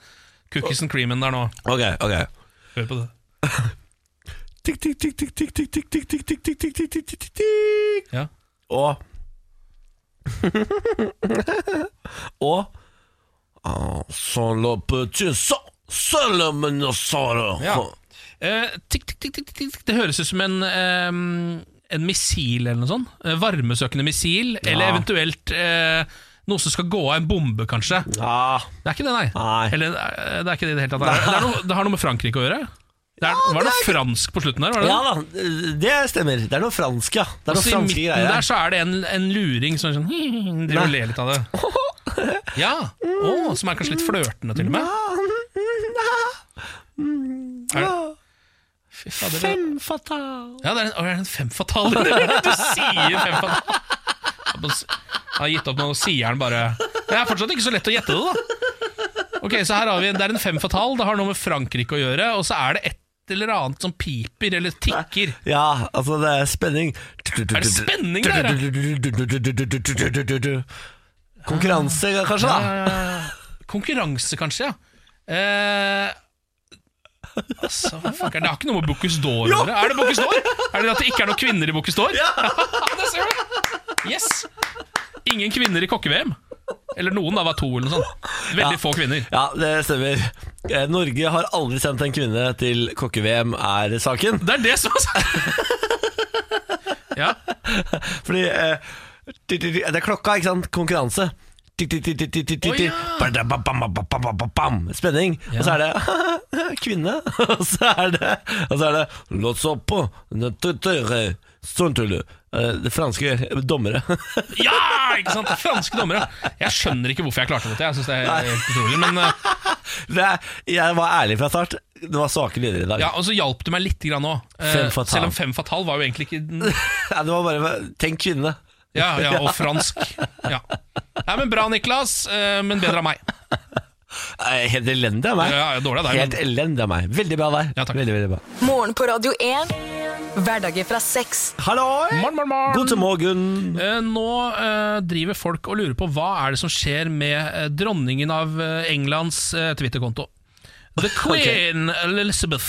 Speaker 2: cookies and creamen der nå.
Speaker 1: Ok, ok
Speaker 2: Hør på det.
Speaker 1: Tikk, tikk, tikk, tikk, tikk, tikk, tikk, tikk, tikk, tikk, tikk, tikk, tikk, tikk, tikk, tikk
Speaker 2: Ja.
Speaker 1: Og [LAUGHS] Og Ah, Så løpet til så Sølvmenosaurer
Speaker 2: Ja. Eh, tikk, tikk, tikk, tikk, tikk. Det høres ut som en, eh, en missil eller noe sånt. Eh, varmesøkende missil, eller eventuelt eh, noe som skal gå av en bombe, kanskje.
Speaker 1: Ja,
Speaker 2: Det er ikke det, nei.
Speaker 1: Nei.
Speaker 2: Eller, eh, det er ikke det i det hele tatt. Det, er, det, er noe, det har noe med Frankrike å gjøre. Det er, var det noe fransk på slutten der? Var det?
Speaker 1: ja da, det stemmer. Det er noe fransk, ja. Det er noe
Speaker 2: Så Altså, I
Speaker 1: franske
Speaker 2: midten
Speaker 1: greier. [LAUGHS]
Speaker 2: der så er det en, en luring som er sånn [LAUGHS] «Hm», driver og
Speaker 1: Nei.
Speaker 2: ler litt av det.
Speaker 1: [LAUGHS]
Speaker 2: Ja, Å, Som er kanskje litt flørtende, til og med. Er det- Fy fader, det-
Speaker 1: Fem fatal.
Speaker 2: ja, det er en, å, det er en femfatal. Du sier femfatal. Han bare s- Han har gitt opp nå, og sier han bare Det er fortsatt ikke så lett å gjette det, da. Ok, så her har vi en, Det er en femfatal, det har noe med Frankrike å gjøre, og så er det et eller annet som piper eller tikker.
Speaker 1: Ja, altså det er spenning. Er
Speaker 2: det spenning der,
Speaker 1: Konkurranse, kanskje? da?
Speaker 2: Eh, Konkurranse, kanskje, ja. Eh, altså, hva fuck er det? det har ikke noe med Bocuse d'Or å gjøre. Er det Bocuse d'Or? Er det at det ikke er noen kvinner i Bocuse d'Or? [LAUGHS] Ja. det ser du. Yes. Ingen kvinner i kokke-VM. Eller noen, da var to eller noe sånt. Veldig få kvinner.
Speaker 1: Ja, det stemmer. Eh, Norge har aldri sendt en kvinne til kokke-VM, er saken.
Speaker 2: Det er det som er sant. [LAUGHS] Ja.
Speaker 1: Fordi eh, Det er klokka, ikke sant? Konkurranse.
Speaker 2: Å, ja.
Speaker 1: Badababababababam. Spenning. Og så er det [LAUGHS] kvinne. Og så er det Og så er det Låt så på. Sånn tuller du. Eh, Det franske dommere. [LAUGHS]
Speaker 2: ja, ikke sant? Franske dommere. Jeg skjønner ikke hvorfor jeg klarte dette. Jeg synes det er helt utrolig, men... eh,
Speaker 1: Det er, jeg var ærlig fra start. Det var svake lyder i dag. [LAUGHS]
Speaker 2: Ja, og så hjalp det meg litt grann òg.
Speaker 1: Fem fatal.
Speaker 2: selv om fem fatal var jo egentlig ikke den
Speaker 1: Nei, det var bare Tenk kvinne.
Speaker 2: Ja, ja, og fransk. Ja. Nei, men Bra, Niklas, eh, men bedre av meg.
Speaker 1: Nei, Helt elendig av meg.
Speaker 2: Ja, ja, dårlig av deg,
Speaker 1: Helt
Speaker 2: men-
Speaker 1: elendig av meg. Veldig bra av deg.
Speaker 2: Ja, takk.
Speaker 1: Veldig, veldig bra.
Speaker 3: Morgen på Radio 1. Hverdager fra seks.
Speaker 1: Halloi!
Speaker 2: Morgen, morgen, morgen.
Speaker 1: God til morgen.
Speaker 2: Eh, nå eh, driver folk og lurer på hva er det som skjer med eh, dronningen av eh, Englands eh, Twitter-konto. The Queen Elizabeth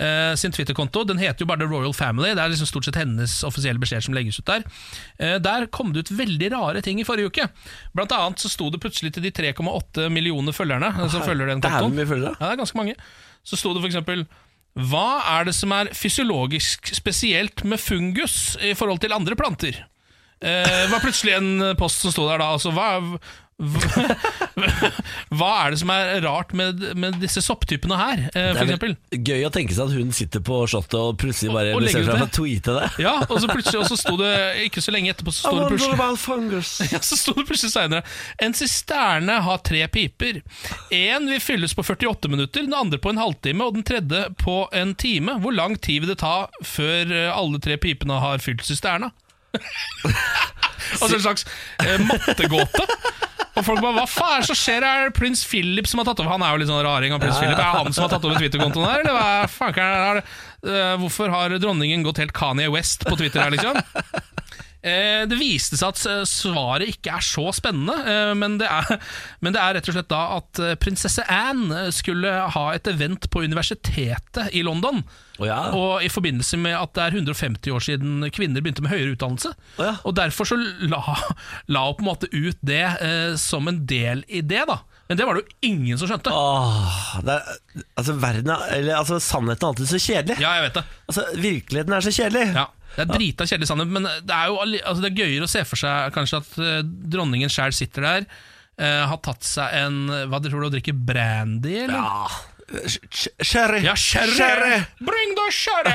Speaker 2: eh, sin Twitter-konto. Den heter jo bare The Royal Family. Det er liksom stort sett hennes offisielle beskjed som legges ut der. Eh, der kom det ut veldig rare ting i forrige uke. Blant annet så sto det plutselig til de 3,8 millioner følgerne eh, som følger den
Speaker 1: Det er
Speaker 2: kontoen.
Speaker 1: hvor mye følgere.
Speaker 2: Ja, det er ganske mange. Så sto det for eksempel Hva er det som er fysiologisk spesielt med fungus i forhold til andre planter? Eh, Det var plutselig en post som sto der da. Altså, hva, hva, [LAUGHS] hva er det som er rart med, med disse sopptypene her, eh,
Speaker 1: Det
Speaker 2: for
Speaker 1: er
Speaker 2: eksempel?
Speaker 1: vel gøy å tenke seg at hun sitter på slottet og plutselig bare
Speaker 2: Og- og legger
Speaker 1: bestemmer seg
Speaker 2: ut
Speaker 1: for å tweete det.
Speaker 2: Ja, og så plutselig og så sto det ikke så lenge etterpå så sto det plutselig
Speaker 1: about fungus.
Speaker 2: [LAUGHS] Ja, så sto det plutselig senere En sisterne har tre piper En vil fylles på 48 minutter Den andre på en halvtime Og den tredje på en time Hvor lang tid vil det ta Før eh, alle tre pipene har fylt sisterna? altså en slags eh, mattegåte og folk bare, hva faen er det som skjer? Er det prins Philip som har tatt over? Han er jo litt sånn raring av prins Philip. Er det han som har tatt over Twitter-kontoen her? Eller hva faen er det? Eh, hvorfor har dronningen gått helt Kanye West på Twitter her, liksom? Eh, Det viste seg at eh, svaret ikke er så spennende, eh, men det er, men det er rett og slett da at eh, prinsesse Anne eh, skulle ha et event på universitetet i London.
Speaker 1: Å ja.
Speaker 2: Og i forbindelse med at det er 150 år siden kvinner begynte med høyere utdannelse.
Speaker 1: Å ja.
Speaker 2: Og derfor så la, la hun på en måte ut det eh, som en del i det, da. Men det var det jo ingen som skjønte.
Speaker 1: Åh, det er, altså, verden er, eller, altså, sannheten er alltid så kjedelig.
Speaker 2: Ja, jeg vet det.
Speaker 1: Altså, virkeligheten er så kjedelig.
Speaker 2: Ja, det er drita kjedelig sannhet, men det er jo alli- altså det er gøyere å se for seg kanskje at eh, dronningen sjæl sitter der, eh, har tatt seg en eh, Hva tror du, å drikke brandy, eller?
Speaker 1: Ja. Ah, Sh- sh- Sherry.
Speaker 2: Ja, sherry! Bring the
Speaker 1: [LAUGHS]
Speaker 2: sherry!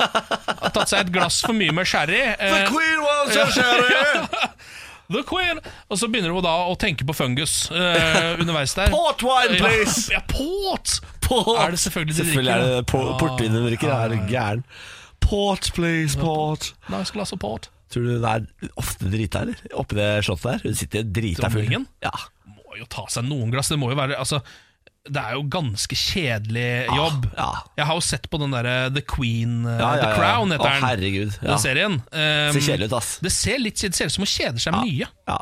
Speaker 2: Har tatt seg et glass for mye med sherry. eh,
Speaker 1: queen wants a
Speaker 2: [LAUGHS]
Speaker 1: sherry!
Speaker 2: the queen! Og så begynner hun da å tenke på fungus eh, underveis der.
Speaker 1: Port wine, please!
Speaker 2: Ja, ja, port!
Speaker 1: [LAUGHS] Port.
Speaker 2: Er det selvfølgelig de
Speaker 1: Selvfølgelig
Speaker 2: drikker,
Speaker 1: er
Speaker 2: da? Ah.
Speaker 1: det por portvin hun drikker. Er du gæren? Port, please, port.
Speaker 2: Nice glass of port.
Speaker 1: Tror du hun er ofte drita, eller? Oppi det slottet der? Hun sitter drita full.
Speaker 2: Dronningen?
Speaker 1: Ja.
Speaker 2: Må jo ta seg noen glass. Det må jo være altså, Det er jo ganske kjedelig jobb.
Speaker 1: Ah, ja.
Speaker 2: Jeg har jo sett på den derre The Queen eh,
Speaker 1: Ja, ja, ja.
Speaker 2: The Crown,
Speaker 1: Å,
Speaker 2: heter den.
Speaker 1: herregud, ja.
Speaker 2: Den serien. Um,
Speaker 1: Ser kjedelig ut, ass.
Speaker 2: Det ser litt det ser ut som hun kjeder seg mye.
Speaker 1: Ja.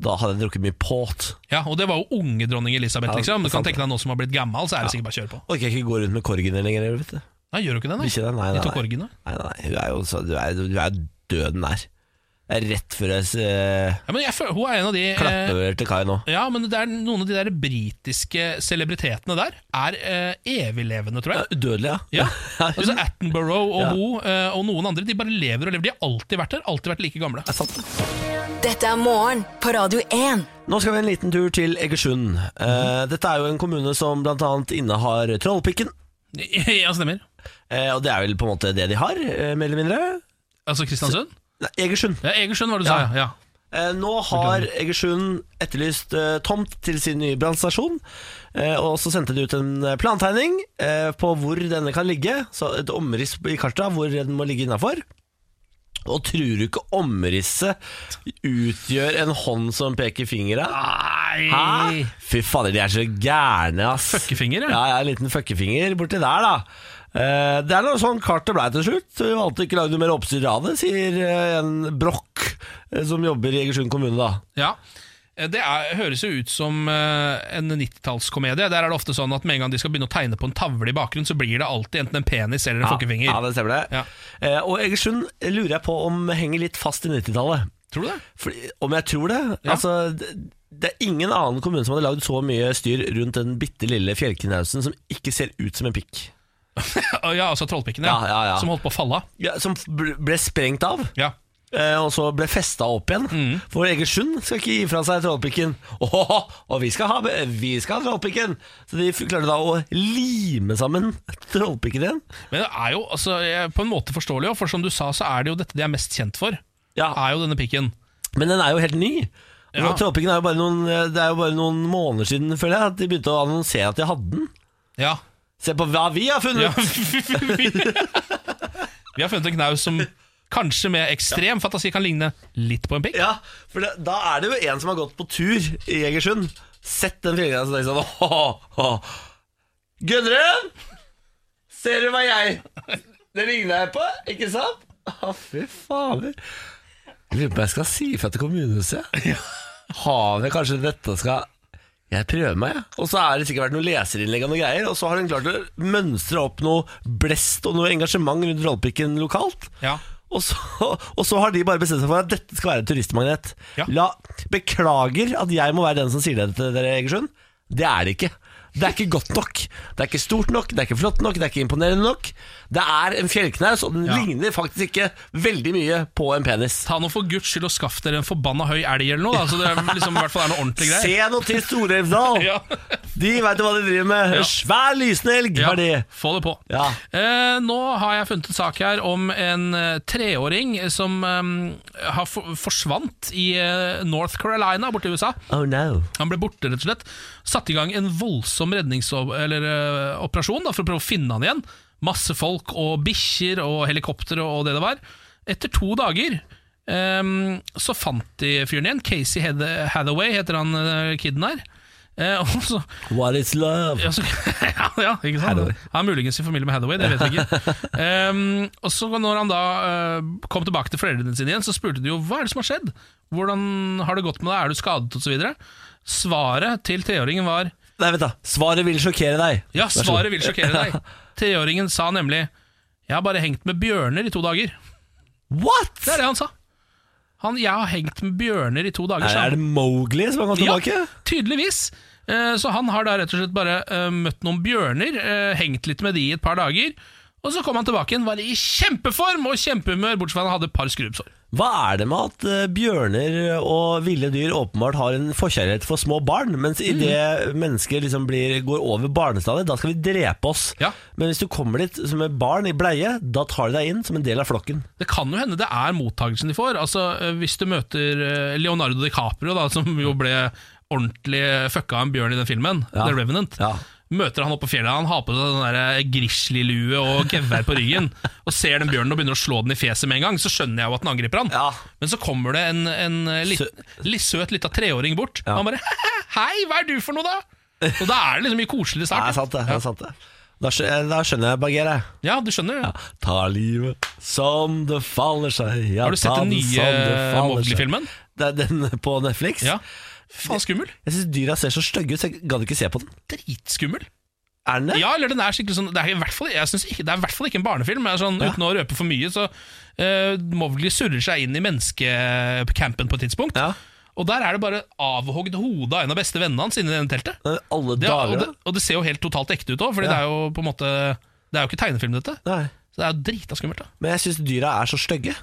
Speaker 1: Da hadde jeg drukket mye port.
Speaker 2: Ja, Og det var jo unge dronning Elisabeth,
Speaker 1: Ja,
Speaker 2: liksom. Du kan
Speaker 1: sant.
Speaker 2: tenke deg nå som har blitt gammel, så er det sikkert bare å kjøre på.
Speaker 1: Og ikke gå rundt med korgene lenger, vet du.
Speaker 2: Nei, gjør du ikke det,
Speaker 1: Ikke det? Nei, nei,
Speaker 2: De tok
Speaker 1: nei.
Speaker 2: orgene.
Speaker 1: Nei, nei, hun er jo så, du er, du er døden nær. Det er rett før jeg eh,
Speaker 2: Ja, men jeg føler, hun er en av de eh,
Speaker 1: klapper over til kai nå.
Speaker 2: Ja, men det er noen av de der britiske celebritetene der er eh, eviglevende, tror jeg.
Speaker 1: Ja, Udødelig, [LAUGHS] ja.
Speaker 2: Ja, altså Attenborough og
Speaker 1: Ja.
Speaker 2: Ho eh, og noen andre De bare lever og lever. De har alltid vært der, alltid vært like gamle.
Speaker 1: Det er sant. det.
Speaker 3: Dette er morgen på Radio 1.
Speaker 1: Nå skal vi en liten tur til Egersund. Eh, dette er jo en kommune som bl.a. innehar Trollpikken.
Speaker 2: Ja, stemmer.
Speaker 1: Eh, og det er vel på en måte det de har, eh, mer eller mindre.
Speaker 2: Altså Kristiansund?
Speaker 1: Nei, Egersund.
Speaker 2: Ja, Egersund, var det du sa. ja. ja.
Speaker 1: Eh, nå har Egersund etterlyst eh, tomt til sin nye brannstasjon. Eh, og så sendte de ut en eh, plantegning eh, på hvor denne kan ligge. Så et omriss i kartet av hvor den må ligge innafor. Og tror du ikke omrisset utgjør en hånd som peker fingeren? Hæ?
Speaker 2: Nei
Speaker 1: Fy fader, de er så gærne, ass.
Speaker 2: Ah! Fuckefinger, ja.
Speaker 1: ja. ja. En liten fuckefinger borti der, da. Eh, det er noe sånn kartet blei til slutt. Vi valgte ikke å lage noe mer oppstyr av det, sier eh, en brokk eh, som jobber i Egersund kommune, da.
Speaker 2: Ja. Eh, Det er, høres jo ut som eh, en 90-tallskomedie. Der er det ofte sånn at med en gang de skal begynne å tegne på en tavle i bakgrunnen, så blir det alltid enten en penis eller en
Speaker 1: Ja,
Speaker 2: fuckefinger.
Speaker 1: det stemmer det.
Speaker 2: Ja.
Speaker 1: Eh, og Egersund lurer jeg på om henger litt fast i 90-tallet.
Speaker 2: Tror du det?
Speaker 1: Fordi- Om jeg tror det?
Speaker 2: Ja.
Speaker 1: Altså, det, det er ingen annen kommune som hadde lagd så mye styr rundt den bitte lille fjellknausen som ikke ser ut som en pikk.
Speaker 2: Ja, altså trollpikken, ja.
Speaker 1: Ja, ja, ja.
Speaker 2: Som holdt på å falle av.
Speaker 1: Ja, som bl- ble sprengt av.
Speaker 2: Ja.
Speaker 1: eh, Og så ble festa opp igjen.
Speaker 2: Mm.
Speaker 1: For Egersund skal ikke gi fra seg trollpikken. [LAUGHS] Åh, og vi skal, ha, vi skal ha trollpikken! Så de f- klarte da å lime sammen [LAUGHS] trollpikken igjen.
Speaker 2: Men det er jo altså, jeg- på en måte forståelig, jo, for som du sa, så er det jo dette de er mest kjent for.
Speaker 1: Ja.
Speaker 2: Er jo denne pikken.
Speaker 1: Men den er jo helt ny. Altså,
Speaker 2: Ja.
Speaker 1: Trollpikken er jo, bare noen, eh, det er jo bare noen måneder siden, føler jeg, at de begynte å annonsere at de hadde den.
Speaker 2: Ja.
Speaker 1: Se på hva vi har funnet!
Speaker 2: ja. [LAUGHS] Vi vi har funnet en knaus som kanskje med ekstrem fantasi kan ligne litt på en pikk.
Speaker 1: Ja, for det, da er det jo en som har gått på tur i Egersund Sett den fjellgrensen og tenkt sånn [LAUGHS] «Åh, åh, åh. Gudrun! Ser du hva jeg Det ligner jeg på, ikke sant? Å, fy fader. Jeg lurer på om jeg skal si ifra til kommunehuset. Har vi kanskje dette skal Jeg prøver meg, jeg. Og så har det sikkert vært noen leserinnlegg og noen greier, og så har hun klart å mønstre opp noe blest og noe engasjement rundt rollpikken lokalt.
Speaker 2: Ja.
Speaker 1: Og så, og så har de bare bestemt seg for at dette skal være en turistmagnet.
Speaker 2: Ja.
Speaker 1: La, beklager at jeg må være den som sier det til dere, Egersund. Det er det ikke. Det er ikke godt nok. Det er ikke stort nok, det er ikke flott nok, det er ikke imponerende nok. Det er en fjellknaus, og den
Speaker 2: Ja.
Speaker 1: ligner faktisk ikke veldig mye på en penis.
Speaker 2: Ta nå for guds skyld og skaff dere en forbanna høy elg eller noe, da, så det er liksom, i hvert fall er noe ordentlig
Speaker 1: [LAUGHS] Se
Speaker 2: greier.
Speaker 1: nå til Storelvdal!
Speaker 2: [LAUGHS] Ja.
Speaker 1: De veit jo hva de driver med.
Speaker 2: Ja.
Speaker 1: Svær lysende elg
Speaker 2: Ja,
Speaker 1: har de.
Speaker 2: få det på.
Speaker 1: Ja.
Speaker 2: Eh, nå har jeg funnet en sak her om en eh, treåring som eh, har for forsvant i eh, North Carolina borti USA.
Speaker 1: Oh no.
Speaker 2: Han ble borte, rett og slett. Satte i gang en voldsom redningsoperasjon eh, da, for å prøve å finne han igjen. Masse folk og bikkjer og helikopter og det det var. Etter to dager ehm, så fant de fyren igjen. Casey Hath- Hathaway heter han eh, kiden her. Eh, [LAUGHS] og så,
Speaker 1: What is love?
Speaker 2: ja, så, [LAUGHS] ja, ja, ikke sant?
Speaker 1: Hathaway.
Speaker 2: Han er muligens i familie med Hathaway, det vet jeg ikke.
Speaker 1: [LAUGHS]
Speaker 2: Ehm, og så når han da eh, kom tilbake til foreldrene sine igjen, så spurte de jo hva er det som har skjedd? Hvordan har det gått med deg? Er du skadet? Og så videre. Svaret til treåringen var
Speaker 1: Nei, vent, da. Svaret vil sjokkere deg.
Speaker 2: ja,
Speaker 1: Vær så god.
Speaker 2: svaret vil sjokkere deg.
Speaker 1: [LAUGHS]
Speaker 2: Treåringen sa nemlig jeg har bare hengt med bjørner i to dager.
Speaker 1: What?!
Speaker 2: Det er det han sa. Han, jeg har hengt med bjørner i to dager, sa han.
Speaker 1: Er det Mowgli som har gått tilbake?
Speaker 2: Ja, tydeligvis. Eh, Så han har da rett og slett bare eh, møtt noen bjørner, eh, hengt litt med de i et par dager. Og så kom han tilbake igjen, var i kjempeform og kjempehumør, bortsett fra at han hadde et par skrubbsår.
Speaker 1: Hva er det med at eh, bjørner og ville dyr åpenbart har en forkjærlighet for små barn, mens
Speaker 2: Mm.
Speaker 1: idet mennesker liksom blir, går over barnestadiet, da skal vi drepe oss.
Speaker 2: Ja.
Speaker 1: Men hvis du kommer dit som et barn i bleie, da tar de deg inn som en del av flokken.
Speaker 2: Det kan jo hende det er mottagelsen de får. Altså, eh, Hvis du møter eh, Leonardo DiCaprio, da, som jo ble ordentlig fucka av en bjørn i den filmen,
Speaker 1: Ja.
Speaker 2: The Revenant.
Speaker 1: Ja.
Speaker 2: Møter han oppe på fjellet, han har på seg sånn der grizzlylue og gevær på ryggen, og ser den bjørnen og begynner å slå den i fjeset med en gang, så skjønner jeg jo at den angriper han.
Speaker 1: Ja.
Speaker 2: Men så kommer det en, en eh, litt, litt søt lita treåring bort, og han bare [LAUGHS] Hei, hva er du for noe, da? Og da er det liksom mye koseligere
Speaker 1: Det
Speaker 2: start.
Speaker 1: er sant, det. det,
Speaker 2: Ja.
Speaker 1: er sant det. Da, skjø- eh, da skjønner jeg, Bagheera.
Speaker 2: ja, du skjønner. det.
Speaker 1: Ta livet som det faller seg. Ja,
Speaker 2: Har du sett
Speaker 1: ta
Speaker 2: den
Speaker 1: som det
Speaker 2: nye
Speaker 1: faller seg.
Speaker 2: Mowgli-filmen?
Speaker 1: Det er den på Netflix.
Speaker 2: Ja. Faen, skummel.
Speaker 1: Jeg syns dyra ser så stygge ut, så jeg gadd ikke se på den.
Speaker 2: Dritskummel.
Speaker 1: Er den det?
Speaker 2: Ja, eller den er skikkelig sånn Det er i hvert fall, jeg synes ikke, det er i hvert fall ikke en barnefilm. Men sånn, Uten å røpe for mye, så uh, Mowgli surrer seg inn i menneskecampen på et tidspunkt.
Speaker 1: Ja.
Speaker 2: Og der er det bare avhogd hode av en av beste vennene hans inni det teltet.
Speaker 1: Alle
Speaker 2: Det, er- og,
Speaker 1: dager,
Speaker 2: det, og det ser jo helt totalt ekte ut òg, for
Speaker 1: Ja.
Speaker 2: det er jo på en måte Det er jo ikke tegnefilm, dette.
Speaker 1: da? Nei.
Speaker 2: Så det er jo drita skummelt. da
Speaker 1: Men jeg syns dyra er så stygge.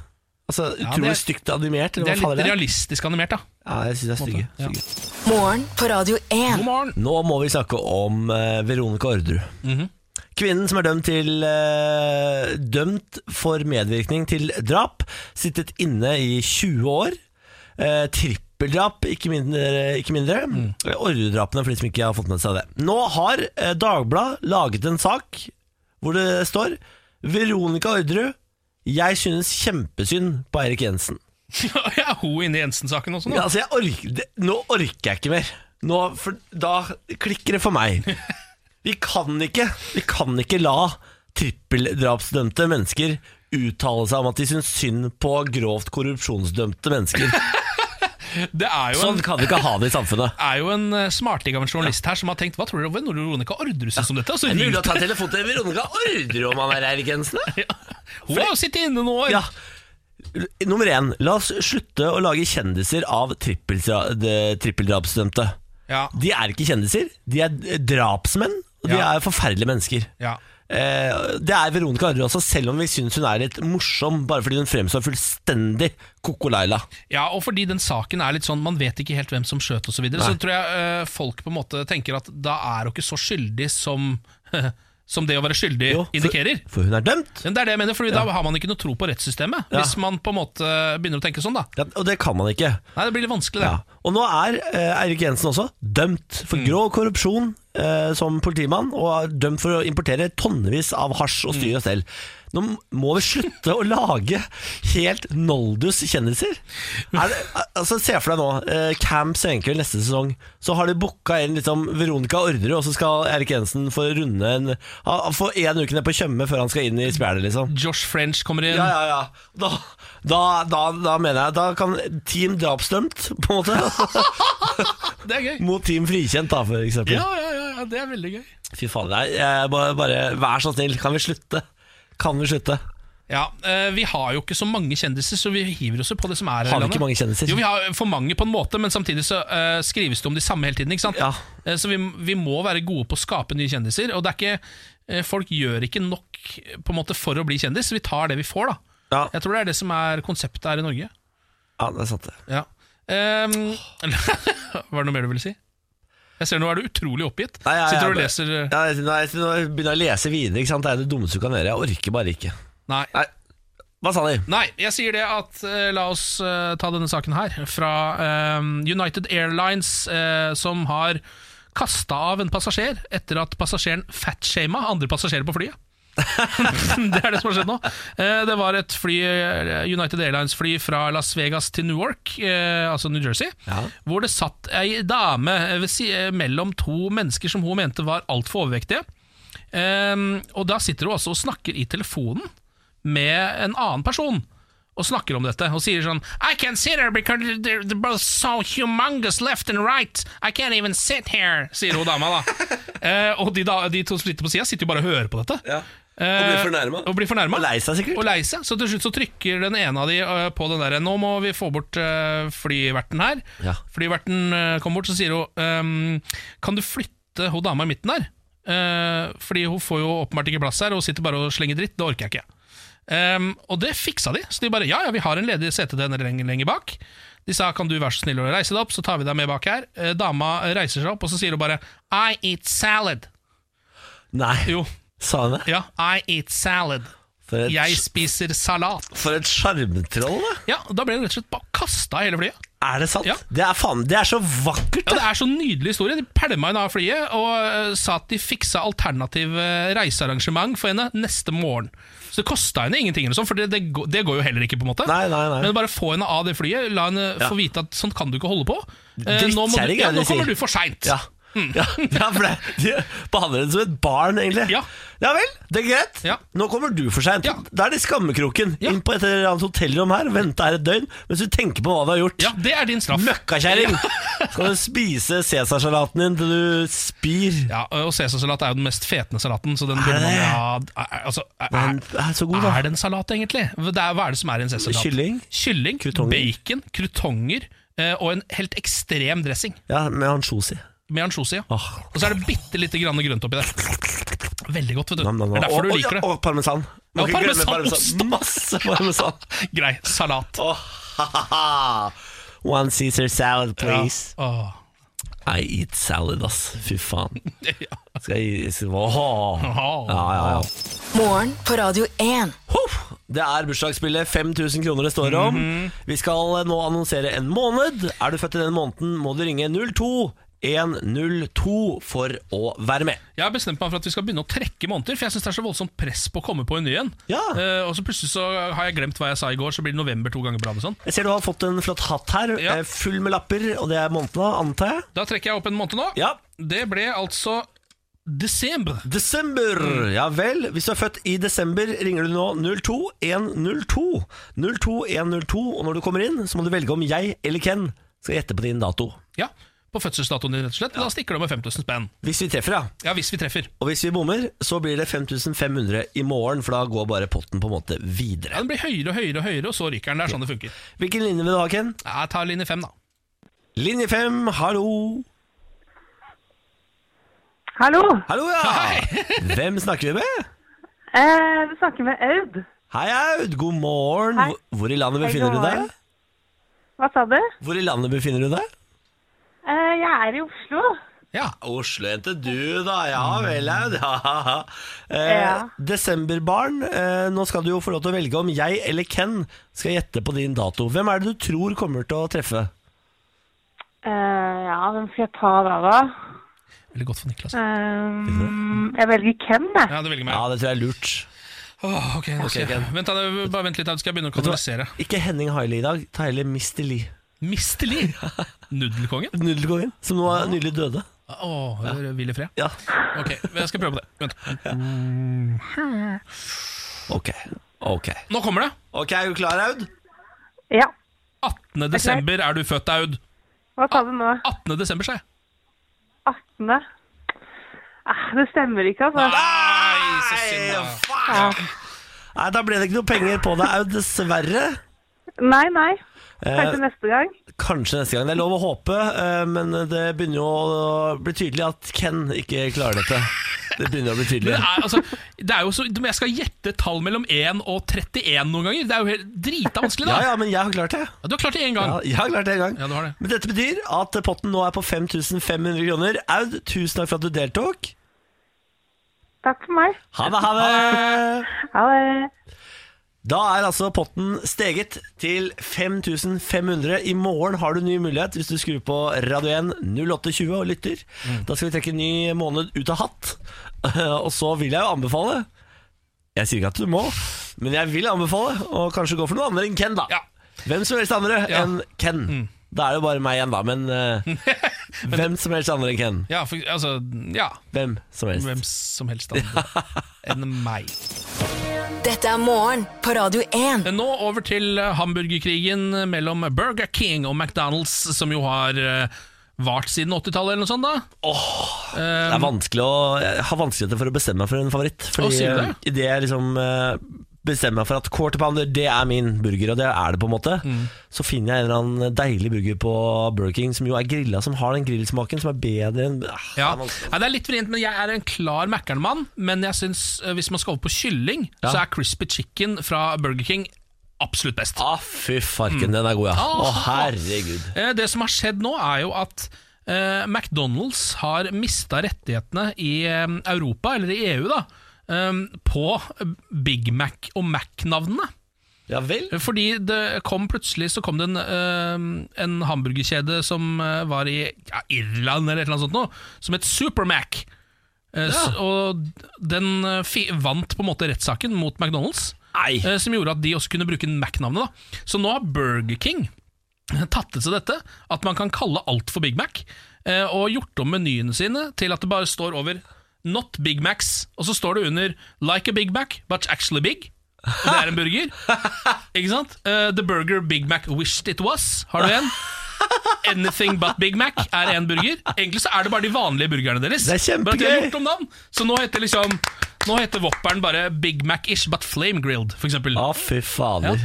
Speaker 1: Altså,
Speaker 2: Ja,
Speaker 1: Utrolig
Speaker 2: det er-
Speaker 1: stygt animert.
Speaker 2: Det
Speaker 1: Eller hva
Speaker 2: er litt
Speaker 1: faen er det?
Speaker 2: realistisk animert, da.
Speaker 1: Ja, jeg synes det er stygge.
Speaker 2: måte, ja.
Speaker 1: stygge.
Speaker 3: Morgen på Radio 1.
Speaker 2: God morgen.
Speaker 1: Nå må vi snakke om eh, Veronica Orderud. Kvinnen som er dømt til eh, Dømt for medvirkning til drap. Sittet inne i 20 år. Eh, trippeldrap, ikke mindre. Ikke mindre.
Speaker 2: Mm.
Speaker 1: Eh, Orderud-drapene, for de som ikke har fått med seg det. Nå har eh, Dagbladet laget en sak hvor det står 'Veronica Orderud. Jeg synes kjempesynd på Eirik Jensen'.
Speaker 2: [LAUGHS] Ja, er hun inne i Jensen-saken også nå?
Speaker 1: Ja, altså, jeg orker, det, nå orker jeg ikke mer. Nå, for da klikker det for meg. Vi kan ikke, vi kan ikke la trippeldrapsdømte mennesker uttale seg om at de syns synd på grovt korrupsjonsdømte mennesker.
Speaker 2: Det er jo en,
Speaker 1: Sånn kan vi ikke ha det i samfunnet.
Speaker 2: er jo en eh, smarting av en journalist her som har tenkt Hva tror dere om Veronica Orderud synes om dette? Altså, Og så
Speaker 1: Er det mulig å
Speaker 2: ringte-
Speaker 1: ta telefon til Veronica Orderud om han er Eirik Jensen? da?
Speaker 2: Hun har jo sittet inne nå.
Speaker 1: Ja. Nummer én, la oss slutte å lage kjendiser av trippelsra- de- trippeldrapsdømte.
Speaker 2: Ja,
Speaker 1: De er ikke kjendiser, de er eh, drapsmenn, og de
Speaker 2: Ja.
Speaker 1: er forferdelige mennesker.
Speaker 2: ja.
Speaker 1: Eh, Det er Veronica Arrud også, selv om vi syns hun er litt morsom, bare fordi hun fremstår fullstendig Koko Laila.
Speaker 2: Ja, og fordi den saken er litt sånn Man vet ikke helt hvem som skjøt osv. Så, videre, så
Speaker 1: Nei.
Speaker 2: tror jeg eh, folk på en måte tenker at da er hun ikke så skyldig som, [LAUGHS] som det å være skyldig
Speaker 1: Jo, for-
Speaker 2: indikerer.
Speaker 1: For hun er dømt.
Speaker 2: Men det er det jeg mener, for da har man ikke noe tro på rettssystemet.
Speaker 1: Ja.
Speaker 2: Hvis man på en måte begynner å tenke sånn, da.
Speaker 1: Ja, og det kan man ikke.
Speaker 2: Nei, det blir litt vanskelig, det.
Speaker 1: Ja. Og nå er eh, Eirik Jensen også dømt for grov korrupsjon eh, som politimann, og er dømt for å importere tonnevis av hasj og styre og stell. Nå må vi slutte å lage helt noldus kjendiser. Er det, al- altså, se for deg nå, eh, Camp Senkveld neste sesong, så har de booka inn liksom Veronica Orderud, og så skal Eirik Jensen få runde en ha- Få én uke ned på Tjøme før han skal inn i spjælet, liksom.
Speaker 2: Josh French kommer inn.
Speaker 1: Ja, ja, ja. Da, da, da, da mener jeg Da kan Team Drapsdømt, på en måte.
Speaker 2: Det er gøy.
Speaker 1: Mot Team Frikjent, da, for eksempel.
Speaker 2: Ja, ja, ja, ja, det er veldig gøy.
Speaker 1: Fy faen, nei, jeg bare, bare vær så snill, kan vi slutte? Kan vi slutte?
Speaker 2: Ja, eh, Vi har jo ikke så mange kjendiser, så vi hiver oss jo på det som er. her i
Speaker 1: Har vi
Speaker 2: landet.
Speaker 1: ikke mange kjendiser?
Speaker 2: Jo, Vi har for mange på en måte, men samtidig så eh, skrives det om de samme hele tiden. ikke sant?
Speaker 1: Ja.
Speaker 2: Eh, så vi, vi må være gode på å skape nye kjendiser. Og det er ikke, eh, folk gjør ikke nok eh, på en måte for å bli kjendis, vi tar det vi får. da.
Speaker 1: Ja,
Speaker 2: Jeg tror det er det som er konseptet her i Norge.
Speaker 1: ja det er sant. det.
Speaker 2: Ja. Ehm, [LAUGHS] var det noe mer du ville si? Jeg ser nå er du utrolig oppgitt.
Speaker 1: Nei, jeg-
Speaker 2: Sitter du og
Speaker 1: jeg-
Speaker 2: leser eh,
Speaker 1: Ja, jeg- nå jeg- nå begynner jeg å lese videre, ikke sant? det er det dummeste du kan gjøre. Jeg orker bare ikke.
Speaker 2: Nei.
Speaker 1: Nei, hva sa de?
Speaker 2: Nei, jeg sier det at eh, la oss eh, ta denne saken her fra eh, United Airlines, eh, som har kasta av en passasjer etter at passasjeren fatshama andre passasjerer på flyet. [LAUGHS] det er det som har skjedd nå. Eh, det var et fly, eh, United Airlines-fly fra Las Vegas til Newark, eh, altså New Jersey,
Speaker 1: Ja.
Speaker 2: hvor det satt ei dame ved si eh, mellom to mennesker som hun mente var altfor overvektige. Ehm, og da sitter hun også og snakker i telefonen med en annen person. Og snakker om dette og sier sånn I can't sit here because they're, they're both so humongous left and right. I can't even sit here, sier hun
Speaker 1: [LAUGHS]
Speaker 2: dama, da. Eh, og de, da, de to som sitter på sida, sitter jo bare og hører på dette.
Speaker 1: Ja.
Speaker 2: Eh,
Speaker 1: Og blir fornærma.
Speaker 2: Og blir fornærma.
Speaker 1: Og lei seg sikkert.
Speaker 2: Og lei seg. Så til slutt så trykker den ene av de eh, på den derre Nå må vi få bort eh, flyverten her.
Speaker 1: Ja.
Speaker 2: Flyverten eh, kommer bort, så sier hun ehm, Kan du flytte hun dama i midten her? Eh, fordi hun får jo åpenbart ikke plass her, og hun sitter bare og slenger dritt. Det orker jeg ikke. Ehm, og det fiksa de. Så de bare ja, ja, vi har en ledig sete til henne lenger, lenger bak. De sa kan du være så snill å reise deg opp, så tar vi deg med bak her. Eh, dama reiser seg opp, og så sier hun bare I eat salad.
Speaker 1: Nei,
Speaker 2: Jo,
Speaker 1: sa hun det?
Speaker 2: ja, I eat salad.
Speaker 1: For et,
Speaker 2: Jeg spiser salat.
Speaker 1: for et sjarmtroll, da.
Speaker 2: Ja, Da ble det rett og slett bare kasta hele flyet.
Speaker 1: Er det sant?
Speaker 2: Ja.
Speaker 1: Det, er faen, det er så vakkert, da.
Speaker 2: Ja, Det er så nydelig historie. De pælma henne av flyet og eh, sa at de fiksa alternativ eh, reisearrangement for henne neste morgen. Så det kosta henne ingenting, eller sånn, for det, det, går- det går jo heller ikke. på en måte
Speaker 1: Nei, nei, nei.
Speaker 2: Men bare få henne av det flyet, la henne
Speaker 1: Ja.
Speaker 2: få vite at sånn kan du ikke holde på. Eh, nå, må du,
Speaker 1: Drittkjerring,
Speaker 2: ja,
Speaker 1: er det de
Speaker 2: nå kommer
Speaker 1: sier.
Speaker 2: du for seint.
Speaker 1: Ja.
Speaker 2: Hmm.
Speaker 1: Ja, ja, for det, de behandler henne som et barn, egentlig.
Speaker 2: Ja.
Speaker 1: vel, det er greit.
Speaker 2: Ja.
Speaker 1: Nå kommer du for seint.
Speaker 2: Ja.
Speaker 1: Da er det skammekroken.
Speaker 2: Ja.
Speaker 1: Inn på et eller annet hotellrom her, vente her et døgn mens du tenker på hva du har gjort.
Speaker 2: Ja, det er din straff.
Speaker 1: Møkkakjerring! [LAUGHS] Skal du spise Cæsarsalaten din til du spyr?
Speaker 2: Ja, og Cæsarsalat er jo den mest fetende salaten. Så den
Speaker 1: Er
Speaker 2: burde man,
Speaker 1: det?
Speaker 2: ja, er, altså, er,
Speaker 1: Den er så god, da.
Speaker 2: Er det en salat, egentlig? Det er, hva er det som er i en Cæsarsalat?
Speaker 1: Kylling?
Speaker 2: Kylling,
Speaker 1: Krutonger?
Speaker 2: bacon, krutonger eh, og en helt ekstrem dressing
Speaker 1: Ja, med ansjosi.
Speaker 2: med ansjosi. ja.
Speaker 1: Åh.
Speaker 2: Og så er det bitte lite grann grønt oppi der. Veldig godt, vet du.
Speaker 1: Nam, nam, nam.
Speaker 2: Det er derfor
Speaker 1: Og-
Speaker 2: du
Speaker 1: og-
Speaker 2: liker det.
Speaker 1: Og, parmesan. Må
Speaker 2: Ja,
Speaker 1: ikke glemme
Speaker 2: parmesanost.
Speaker 1: Masse parmesan.
Speaker 2: [LAUGHS] Grei salat.
Speaker 1: Åh, ha-ha-ha. One Caesar salad, please.
Speaker 2: Åh. [LAUGHS]
Speaker 1: I eat salad, ass. Fy faen.
Speaker 2: Ja.
Speaker 1: Skal jeg gi Åh. Ja, ja, ja.
Speaker 3: Morgen på Radio 1.
Speaker 1: Huff! Det er bursdagsspillet 5000 kroner det står om. Vi skal eh, nå annonsere en måned. Er du født i den måneden, må du ringe 02102 for å være med.
Speaker 2: Jeg har bestemt meg for at vi skal begynne å trekke måneder, for jeg syns det er så voldsomt press på å komme på en ny en.
Speaker 1: Ja.
Speaker 2: Eh, og så plutselig så har jeg glemt hva jeg sa i går, så blir det november to ganger på rad og sånn.
Speaker 1: Jeg ser du har fått en flott hatt her,
Speaker 2: Ja.
Speaker 1: eh, full med lapper, og det er måneden, da, antar jeg?
Speaker 2: Da trekker jeg opp en måned nå.
Speaker 1: Ja.
Speaker 2: Det ble altså desember.
Speaker 1: Desember! Ja vel. Hvis du er født i desember, ringer du nå 02102. 02102, og når du kommer inn, så må du velge om jeg eller Ken skal gjette på din dato.
Speaker 2: Ja, På fødselsdatoen din, rett og slett. Da stikker det med 5000 spenn.
Speaker 1: Hvis vi treffer, ja.
Speaker 2: Ja, hvis vi treffer.
Speaker 1: Og hvis vi bommer, så blir det 5500 i morgen, for da går bare potten på en måte
Speaker 2: Ja,
Speaker 1: videre.
Speaker 2: Den blir høyere og høyere, og høyere, og så ryker den. Det er sånn det funker.
Speaker 1: Hvilken linje vil du ha, Ken?
Speaker 2: Ja, Jeg tar linje fem, da.
Speaker 1: Linje 5, hallo.
Speaker 4: Hallo,
Speaker 1: Hallo, ja! [LAUGHS] Hvem snakker vi med?
Speaker 4: eh, du snakker med Aud.
Speaker 1: Hei, Aud. God morgen.
Speaker 4: Hei.
Speaker 1: Hvor- Hvor i landet
Speaker 4: Hei,
Speaker 1: befinner
Speaker 4: god
Speaker 1: du deg?
Speaker 4: morgen. Hva sa du?
Speaker 1: Hvor i landet befinner du deg?
Speaker 4: Eh, jeg er i Oslo.
Speaker 2: Ja,
Speaker 1: Oslojente du, da. Ja vel, Aud. Ja. Eh,
Speaker 4: Ja.
Speaker 1: Desemberbarn, eh, nå skal du jo få lov til å velge om jeg eller Ken skal gjette på din dato. Hvem er det du tror kommer til å treffe?
Speaker 4: Eh, ja, hvem skal jeg ta da, da?
Speaker 2: Veldig godt for Niklas.
Speaker 4: Eh, jeg velger Ken, jeg.
Speaker 2: Ja, det velger meg.
Speaker 1: Ja, det tror jeg er lurt.
Speaker 2: Åh, ok, nå skal jeg.
Speaker 1: Ken.
Speaker 2: Vent, da, bare vent litt, da skal jeg begynne å kanalisere.
Speaker 1: Ikke Henning Haile i dag, ta heller Mr. Lee. [LAUGHS]
Speaker 2: Mistelig! Nudelkongen?
Speaker 1: Nudelkongen, som nå er nylig døde.
Speaker 2: Åh, eller Hvil i fred.
Speaker 1: Ja,
Speaker 2: Ok, jeg skal prøve på det. Vent.
Speaker 1: ok. Ok,
Speaker 2: Nå kommer det.
Speaker 1: Ok, Er du klar, Aud?
Speaker 4: Ja.
Speaker 2: 18. desember er du født, Aud.
Speaker 4: Hva sa du nå?
Speaker 2: 18. desember, sa jeg.
Speaker 4: 18. Eh, det stemmer ikke, altså.
Speaker 2: Nei, så synd, da.
Speaker 1: Nei, Da ble det ikke noe penger på deg, Aud, dessverre.
Speaker 4: Nei, nei.
Speaker 1: Eh,
Speaker 4: Kanskje neste gang.
Speaker 1: kanskje neste gang. Det er lov å håpe, eh, men det begynner jo å bli tydelig at Ken ikke klarer dette. Det begynner å bli
Speaker 2: Men
Speaker 1: tydelig.
Speaker 2: det er, altså, det er jo så, men jeg skal gjette et tall mellom 1 og 31 noen ganger. Det er jo helt drita vanskelig,
Speaker 1: Ja,
Speaker 2: da.
Speaker 1: ja, men jeg har klart det.
Speaker 2: Ja, Du har klart det én gang.
Speaker 1: Ja, jeg har klart det en gang.
Speaker 2: Ja, du har det.
Speaker 1: Men dette betyr at potten nå er på 5500 kroner. Aud, tusen takk for at du deltok.
Speaker 4: Takk for meg.
Speaker 1: Ha det, ha det!
Speaker 4: Ha det.
Speaker 1: Da er altså potten steget til 5500. I morgen har du ny mulighet hvis du skrur på Radio 1 0820 og lytter.
Speaker 2: Mm.
Speaker 1: Da skal vi trekke en ny måned ut av hatt. [LAUGHS] Og så vil jeg jo anbefale Jeg sier ikke at du må, men jeg vil anbefale å kanskje gå for noen andre enn Ken, da.
Speaker 2: Ja.
Speaker 1: Hvem som helst andre
Speaker 2: Ja. Mm.
Speaker 1: enn Ken. Da er det jo bare meg igjen, da. Men
Speaker 2: [LAUGHS]
Speaker 1: eh, hvem som helst andre enn Ken.
Speaker 2: Ja, for, altså, ja.
Speaker 1: Hvem som helst.
Speaker 2: Hvem som helst andre enn meg.
Speaker 3: Dette er morgen på Radio 1.
Speaker 2: Nå over til eh, hamburgerkrigen mellom Burger King og McDonald's, som jo har eh, vart siden 80-tallet eller noe sånt. da
Speaker 1: Det er vanskelig å, jeg har vanskeligheter for å bestemme meg for en favoritt.
Speaker 2: Um, Å,
Speaker 1: Fordi
Speaker 2: sier du
Speaker 1: eh, i det jeg liksom eh, bestemmer meg for at quarter pounder det er min burger, og det er det på en måte,
Speaker 2: Mm.
Speaker 1: så finner jeg en eller annen deilig burger på Burger King som jo er grilla, som har den grillsmaken som er bedre enn ah, det
Speaker 2: Ja.
Speaker 1: er vanskelig.
Speaker 2: ja, Det er litt vrient, men jeg er en klar Mækkern-mann. Men jeg synes, eh, hvis man skal over på kylling,
Speaker 1: Ja.
Speaker 2: så er crispy chicken fra Burger King absolutt best.
Speaker 1: Ah, fy farken, den er god, ja. Å,
Speaker 2: Ah.
Speaker 1: herregud.
Speaker 2: Eh, Det som har skjedd nå, er jo at eh, McDonald's har mista rettighetene i eh, Europa, eller i EU, da, eh, på Big Mac og Mac-navnene.
Speaker 1: Ja vel?
Speaker 2: Fordi det kom plutselig så kom det en, eh, en hamburgerkjede som eh, var i ja, Irland eller et eller annet sånt noe, som het Supermac. Eh, s- Og den eh, fi- vant på en måte rettssaken mot McDonald's,
Speaker 1: Nei.
Speaker 2: eh, som gjorde at de også kunne bruke Mac-navnet. da. Så nå har Burger King tatt til seg dette, at man kan kalle alt for Big Mac, eh, og gjort om menyene sine til at det bare står over Not Big Macs, og så står det under Like a Big Mac, but actually big. Og det er en
Speaker 1: [LAUGHS]
Speaker 2: burger. Ikke sant? Eh, the burger Big Mac wished it was, har du en? Anything but Big Mac er en burger. Egentlig så er det bare de vanlige burgerne deres.
Speaker 1: Det er kjempegøy.
Speaker 2: Bare at de har gjort om navn. Så nå heter liksom Ah, Nå heter Whopperen bare Big Mac-ish, but flame grilled, for eksempel.
Speaker 1: Å, fy Ah, fader.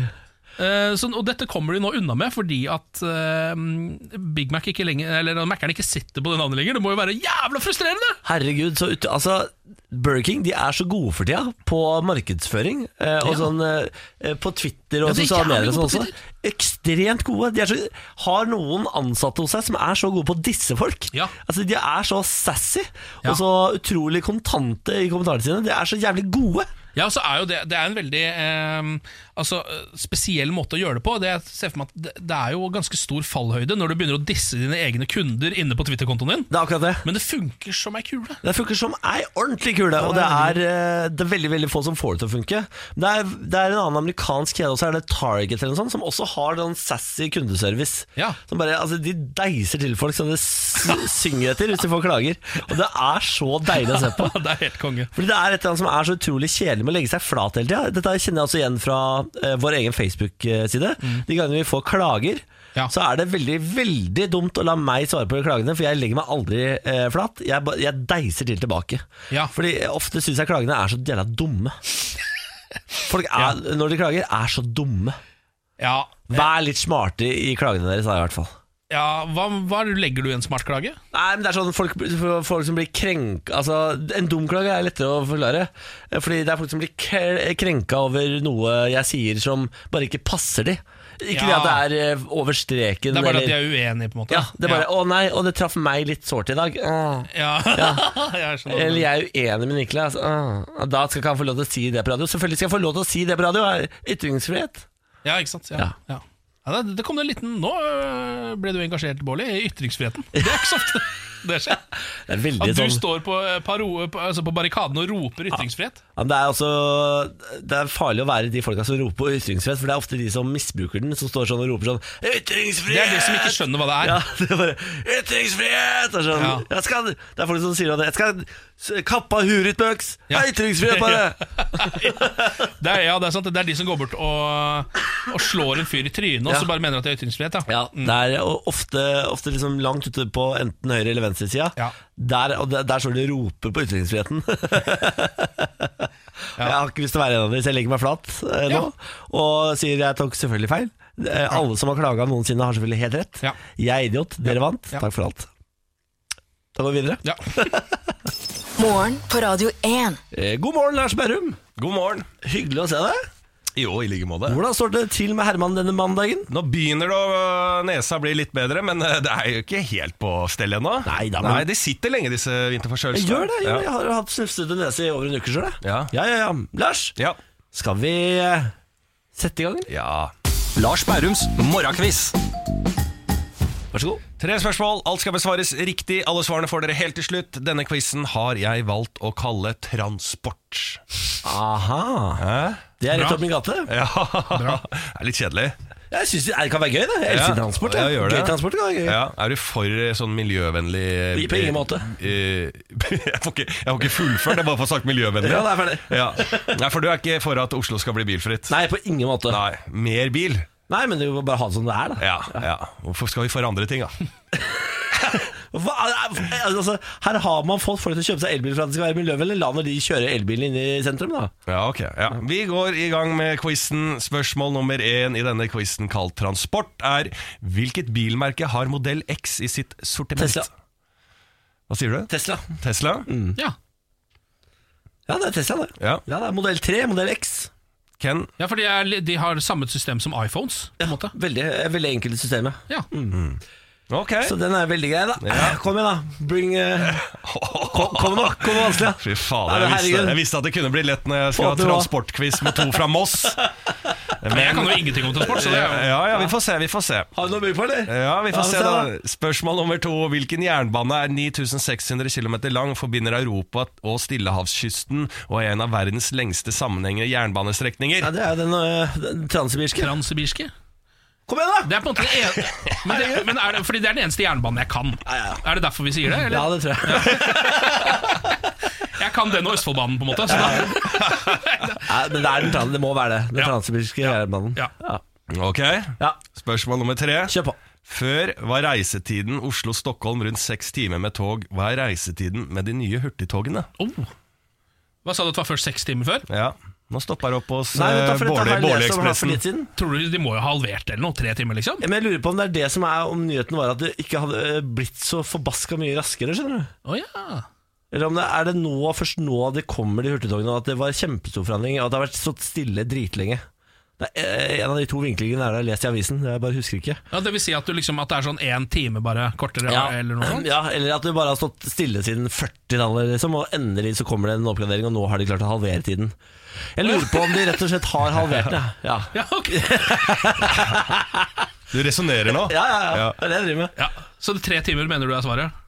Speaker 2: Eh, så, og dette kommer de nå unna med fordi at eh, Big Mac ikke lenger Eller Mac-eren ikke sitter på det navnet lenger. Det må jo være jævla frustrerende!
Speaker 1: Herregud, så ut, altså Burger King de er så gode for tida på markedsføring. Eh, og
Speaker 2: Ja.
Speaker 1: sånn eh, På Twitter og
Speaker 2: Ja, de er
Speaker 1: sosiale medier. og
Speaker 2: jævlig
Speaker 1: sånn
Speaker 2: gode på
Speaker 1: også Ekstremt gode. De er så, har noen ansatte hos seg som er så gode på å disse folk.
Speaker 2: Ja.
Speaker 1: Altså De er så sassy
Speaker 2: Ja.
Speaker 1: og så utrolig kontante i kommentarene sine. De er så jævlig gode.
Speaker 2: Ja, og så er jo det, det er en veldig eh, altså, eh, spesiell måte å gjøre det på. Det, jeg ser for meg at det, det er jo ganske stor fallhøyde når du begynner å disse dine egne kunder inne på Twitter-kontoen din.
Speaker 1: Det er akkurat det.
Speaker 2: Men det funker som ei [LAUGHS] kule.
Speaker 1: Det funker som ei ordentlig kule, og det er, eh, det er veldig veldig få som får det til å funke. Det er, det er en annen amerikansk kjede også, er det Target eller noe sånt, som også har sånn sassy kundeservice.
Speaker 2: Ja.
Speaker 1: Som bare, altså, de deiser til folk som det s- synger etter hvis de får klager. Og det er så deilig å se på.
Speaker 2: det er helt konge.
Speaker 1: Fordi det er et eller annet som er så utrolig kjedelig med å legge seg flat hele tida. Dette kjenner jeg også igjen fra eh, vår egen Facebook-side. De gangene vi får klager,
Speaker 2: Mm. Ja.
Speaker 1: så er det veldig veldig dumt å la meg svare på klagene, for jeg legger meg aldri eh, flat. Jeg, ba- jeg deiser til tilbake.
Speaker 2: Ja.
Speaker 1: Fordi ofte syns jeg klagene er så jævla dumme. Folk er, når de klager, er så dumme.
Speaker 2: Ja,
Speaker 1: Vær litt smarte i klagene deres, da, i hvert fall.
Speaker 2: ja hva, hva legger du i en smart klage?
Speaker 1: Nei, men det er sånn folk, folk som blir krenka Altså, en dum klage er lettere å forklare Eh, Fordi det er folk som blir kre- krenka over noe jeg sier som bare ikke passer de Ikke det
Speaker 2: Ja.
Speaker 1: at det er eh, over streken
Speaker 2: Det er bare at de
Speaker 1: eller-
Speaker 2: er uenige, på en måte.
Speaker 1: Ja, det er bare, å nei, og det traff meg litt sårt i dag Åh.
Speaker 2: [LAUGHS] Ja, jeg skjønner.
Speaker 1: Eller jeg er uenig med Niklas Åh. Da skal ikke han få lov til å si det på radio Selvfølgelig skal jeg få lov til å si det på radio det er Ytringsfrihet
Speaker 2: Ja, ikke sant?
Speaker 1: Ja.
Speaker 2: Ja. Ja. Ja, det, det kom det en liten Nå øh, ble du engasjert, Bårli, i ytringsfriheten. Det er ikke så ofte [LAUGHS] det skjer.
Speaker 1: Det er veldig
Speaker 2: At du
Speaker 1: sånn
Speaker 2: står på, øh, paro, på, altså på barrikaden og roper ytringsfrihet.
Speaker 1: Ja, men det, er altså, det er farlig å være de folka som roper på ytringsfrihet, for det er ofte de som misbruker den, som står sånn og roper sånn Ytringsfrihet!
Speaker 2: Det er de som ikke skjønner hva det er.
Speaker 1: Ja, [LAUGHS] det er bare Ytringsfrihet! Og sånn,
Speaker 2: Ja.
Speaker 1: jeg skal, det er folk som sier at Jeg skal s- kappe av huet ditt, Bøks!
Speaker 2: Ja.
Speaker 1: Ja. Ytringsfrihet, bare!
Speaker 2: [LAUGHS] Det er, ja, det er sant. Det er de som går bort og, øh, og slår en fyr i trynet, og
Speaker 1: Ja.
Speaker 2: så bare mener at det er ytringsfrihet. Ja.
Speaker 1: Ja, Det er o- ofte, ofte liksom langt ute på enten høyre- eller venstresida.
Speaker 2: Ja.
Speaker 1: Der, og der, der står de og roper på
Speaker 2: [LAUGHS]
Speaker 1: ytringsfriheten. Jeg har ikke lyst til å være en av dem, så jeg legger meg flat eh, nå.
Speaker 2: Ja.
Speaker 1: Og sier jeg tok selvfølgelig feil. Eh, alle som har klaga noensinne, har selvfølgelig helt rett.
Speaker 2: Ja.
Speaker 1: Jeg er idiot, dere vant.
Speaker 2: Ja.
Speaker 1: Takk for alt. Da går vi videre.
Speaker 2: Ja.
Speaker 3: Morgen på Radio 1.
Speaker 1: Eh, god morgen, Lars Berrum.
Speaker 5: God morgen.
Speaker 1: Hyggelig å se deg.
Speaker 5: Jo, i like måte.
Speaker 1: Hvordan står det til med Herman denne mandagen?
Speaker 5: Nå begynner det å øh, nesa bli litt bedre, men eh, det er jo ikke helt på stell ennå.
Speaker 1: Nei da, men-
Speaker 5: Nei, de sitter lenge, disse vinterforkjølelsene.
Speaker 1: Jeg gjør det. Jeg,
Speaker 5: Ja.
Speaker 1: jeg har hatt snufsete nese i over en uke sjøl. jeg.
Speaker 5: Ja.
Speaker 1: ja, ja, ja. Lars,
Speaker 5: Ja.
Speaker 1: skal vi eh, sette i gang? eller?
Speaker 5: ja. Lars Bærums morgenkviss.
Speaker 1: Vær så god.
Speaker 5: Tre spørsmål, alt skal besvares riktig. Alle svarene får dere helt til slutt. Denne quizen har jeg valgt å kalle transport.
Speaker 1: Aha.
Speaker 5: Hæ?
Speaker 1: Det er rett
Speaker 2: Bra.
Speaker 1: opp min gate.
Speaker 5: Ja, [LAUGHS] det er litt kjedelig.
Speaker 1: Jeg synes det, det kan være gøy, det. Jeg elsker
Speaker 5: Ja,
Speaker 1: transport.
Speaker 5: jeg gjør det.
Speaker 1: Gøy transport kan være gøy.
Speaker 5: Ja, er du for eh, sånn miljøvennlig eh,
Speaker 1: På ingen måte.
Speaker 5: eh, [LAUGHS] jeg, får ikke, jeg får ikke fullført, jeg bare får sagt miljøvennlig.
Speaker 1: Ja, det er ferdig.
Speaker 5: Ja. Nei, for du er ikke for at Oslo skal bli bilfritt?
Speaker 1: Nei, på ingen måte.
Speaker 5: Nei, mer bil?
Speaker 1: Nei, men du må bare ha det som det er, da.
Speaker 5: Ja, ja. Hvorfor skal vi forandre ting, da?
Speaker 1: Hva, altså, her har man fått folk til å kjøpe seg elbil for at det skal være miljøvennlig. La når de kjører elbilen inn i sentrum, da.
Speaker 5: Ja, ok. Ja. Vi går i gang med quizen. Spørsmål nummer én i denne quizen kalt transport er hvilket bilmerke har modell X i sitt sortiment?
Speaker 1: Tesla. Mm.
Speaker 5: Hva sier du?
Speaker 1: Tesla.
Speaker 5: Tesla?
Speaker 2: Ja.
Speaker 1: Ja, det er Tesla, det.
Speaker 5: Ja.
Speaker 1: Ja, det er modell 3, modell X.
Speaker 5: Ken?
Speaker 2: ja, for de, er, li- de har samme system som iPhones. På en måte.
Speaker 1: Veldig, eh, veldig enkelt system, ja.
Speaker 2: Ja.
Speaker 5: Ok.
Speaker 1: Så den er veldig grei, da.
Speaker 5: Ja.
Speaker 1: [LAUGHS] Kom igjen, da. Bring eh, Kom, kom nå, kom nå, vanskelig.
Speaker 5: Fy
Speaker 1: Nei, men
Speaker 5: fader, jeg visste,
Speaker 1: herregud.
Speaker 5: jeg visste at det kunne bli lett når jeg skal
Speaker 1: Få
Speaker 5: ha
Speaker 1: til hva?
Speaker 5: transportquiz med to fra
Speaker 1: [LAUGHS]
Speaker 5: Moss.
Speaker 2: Men jeg kan jo ingenting om transport, så det er jo
Speaker 5: Ja, ja, vi får se, vi får se.
Speaker 1: Har du noe å by på, eller?
Speaker 5: Ja, vi får se
Speaker 1: men
Speaker 5: da. Spørsmål nummer to. Hvilken jernbane er 9600 km lang, forbinder Europa og Stillehavskysten og er en av verdens lengste sammenhengende jernbanestrekninger?
Speaker 1: Ja, det er jo den, eh, den transsibirske.
Speaker 2: transsibirske.
Speaker 1: Kom igjen, da!
Speaker 2: Det er på en måte det ene men det, men er det, Fordi det er den eneste jernbanen jeg kan.
Speaker 1: ja.
Speaker 2: Er det derfor vi sier det?
Speaker 1: Ja,
Speaker 2: Eller?
Speaker 1: det tror jeg.
Speaker 2: Jeg kan den og Østfoldbanen, på en måte. Så da,
Speaker 1: Ja, men det, er den, tran- det må være det. Den
Speaker 2: Ja.
Speaker 1: transsibirske jernbanen.
Speaker 2: Ja.
Speaker 1: Ja.
Speaker 5: Ok,
Speaker 1: ja,
Speaker 5: spørsmål nummer tre.
Speaker 1: kjør på.
Speaker 5: Før var reisetiden Oslo-Stockholm rundt seks timer med tog. Hva er reisetiden med de nye hurtigtogene?
Speaker 2: oh. Hva sa du at det var først seks timer før?
Speaker 5: Ja, Nå stopper det opp hos
Speaker 1: Nei, vet du,
Speaker 5: eh,
Speaker 1: for dette har
Speaker 5: Bårli-
Speaker 1: jeg lest om her for
Speaker 5: Bårli-ekspressen.
Speaker 1: litt siden.
Speaker 2: Tror du de må jo ha halvert det eller noe? Tre timer, liksom?
Speaker 1: Ja, Men jeg lurer på om det er det som er om nyheten var at det ikke hadde eh, blitt så forbaska mye raskere, skjønner du.
Speaker 2: Å ja.
Speaker 1: Eller om det er det nå, først nå det kommer de hurtigtogene, og at det var kjempestor forandring, og at det har vært stått stille dritlenge. Det er eh, en av de to vinklingene er det jeg har lest i avisen, jeg bare husker ikke.
Speaker 2: ja det vil si at, du liksom, at det er sånn én time bare kortere eller noe sånt?
Speaker 1: ja, eller at det bare har stått stille siden 40-tallet, liksom, og endelig så kommer det en oppgradering, og nå har de klart å halvere tiden. Jeg lurer på om de rett og slett har halvert det. Ja,
Speaker 2: Ja, ok.
Speaker 5: Du resonnerer nå?
Speaker 1: ja, ja. ja. Det er det jeg driver med.
Speaker 2: ja. Så det er tre timer mener du er svaret?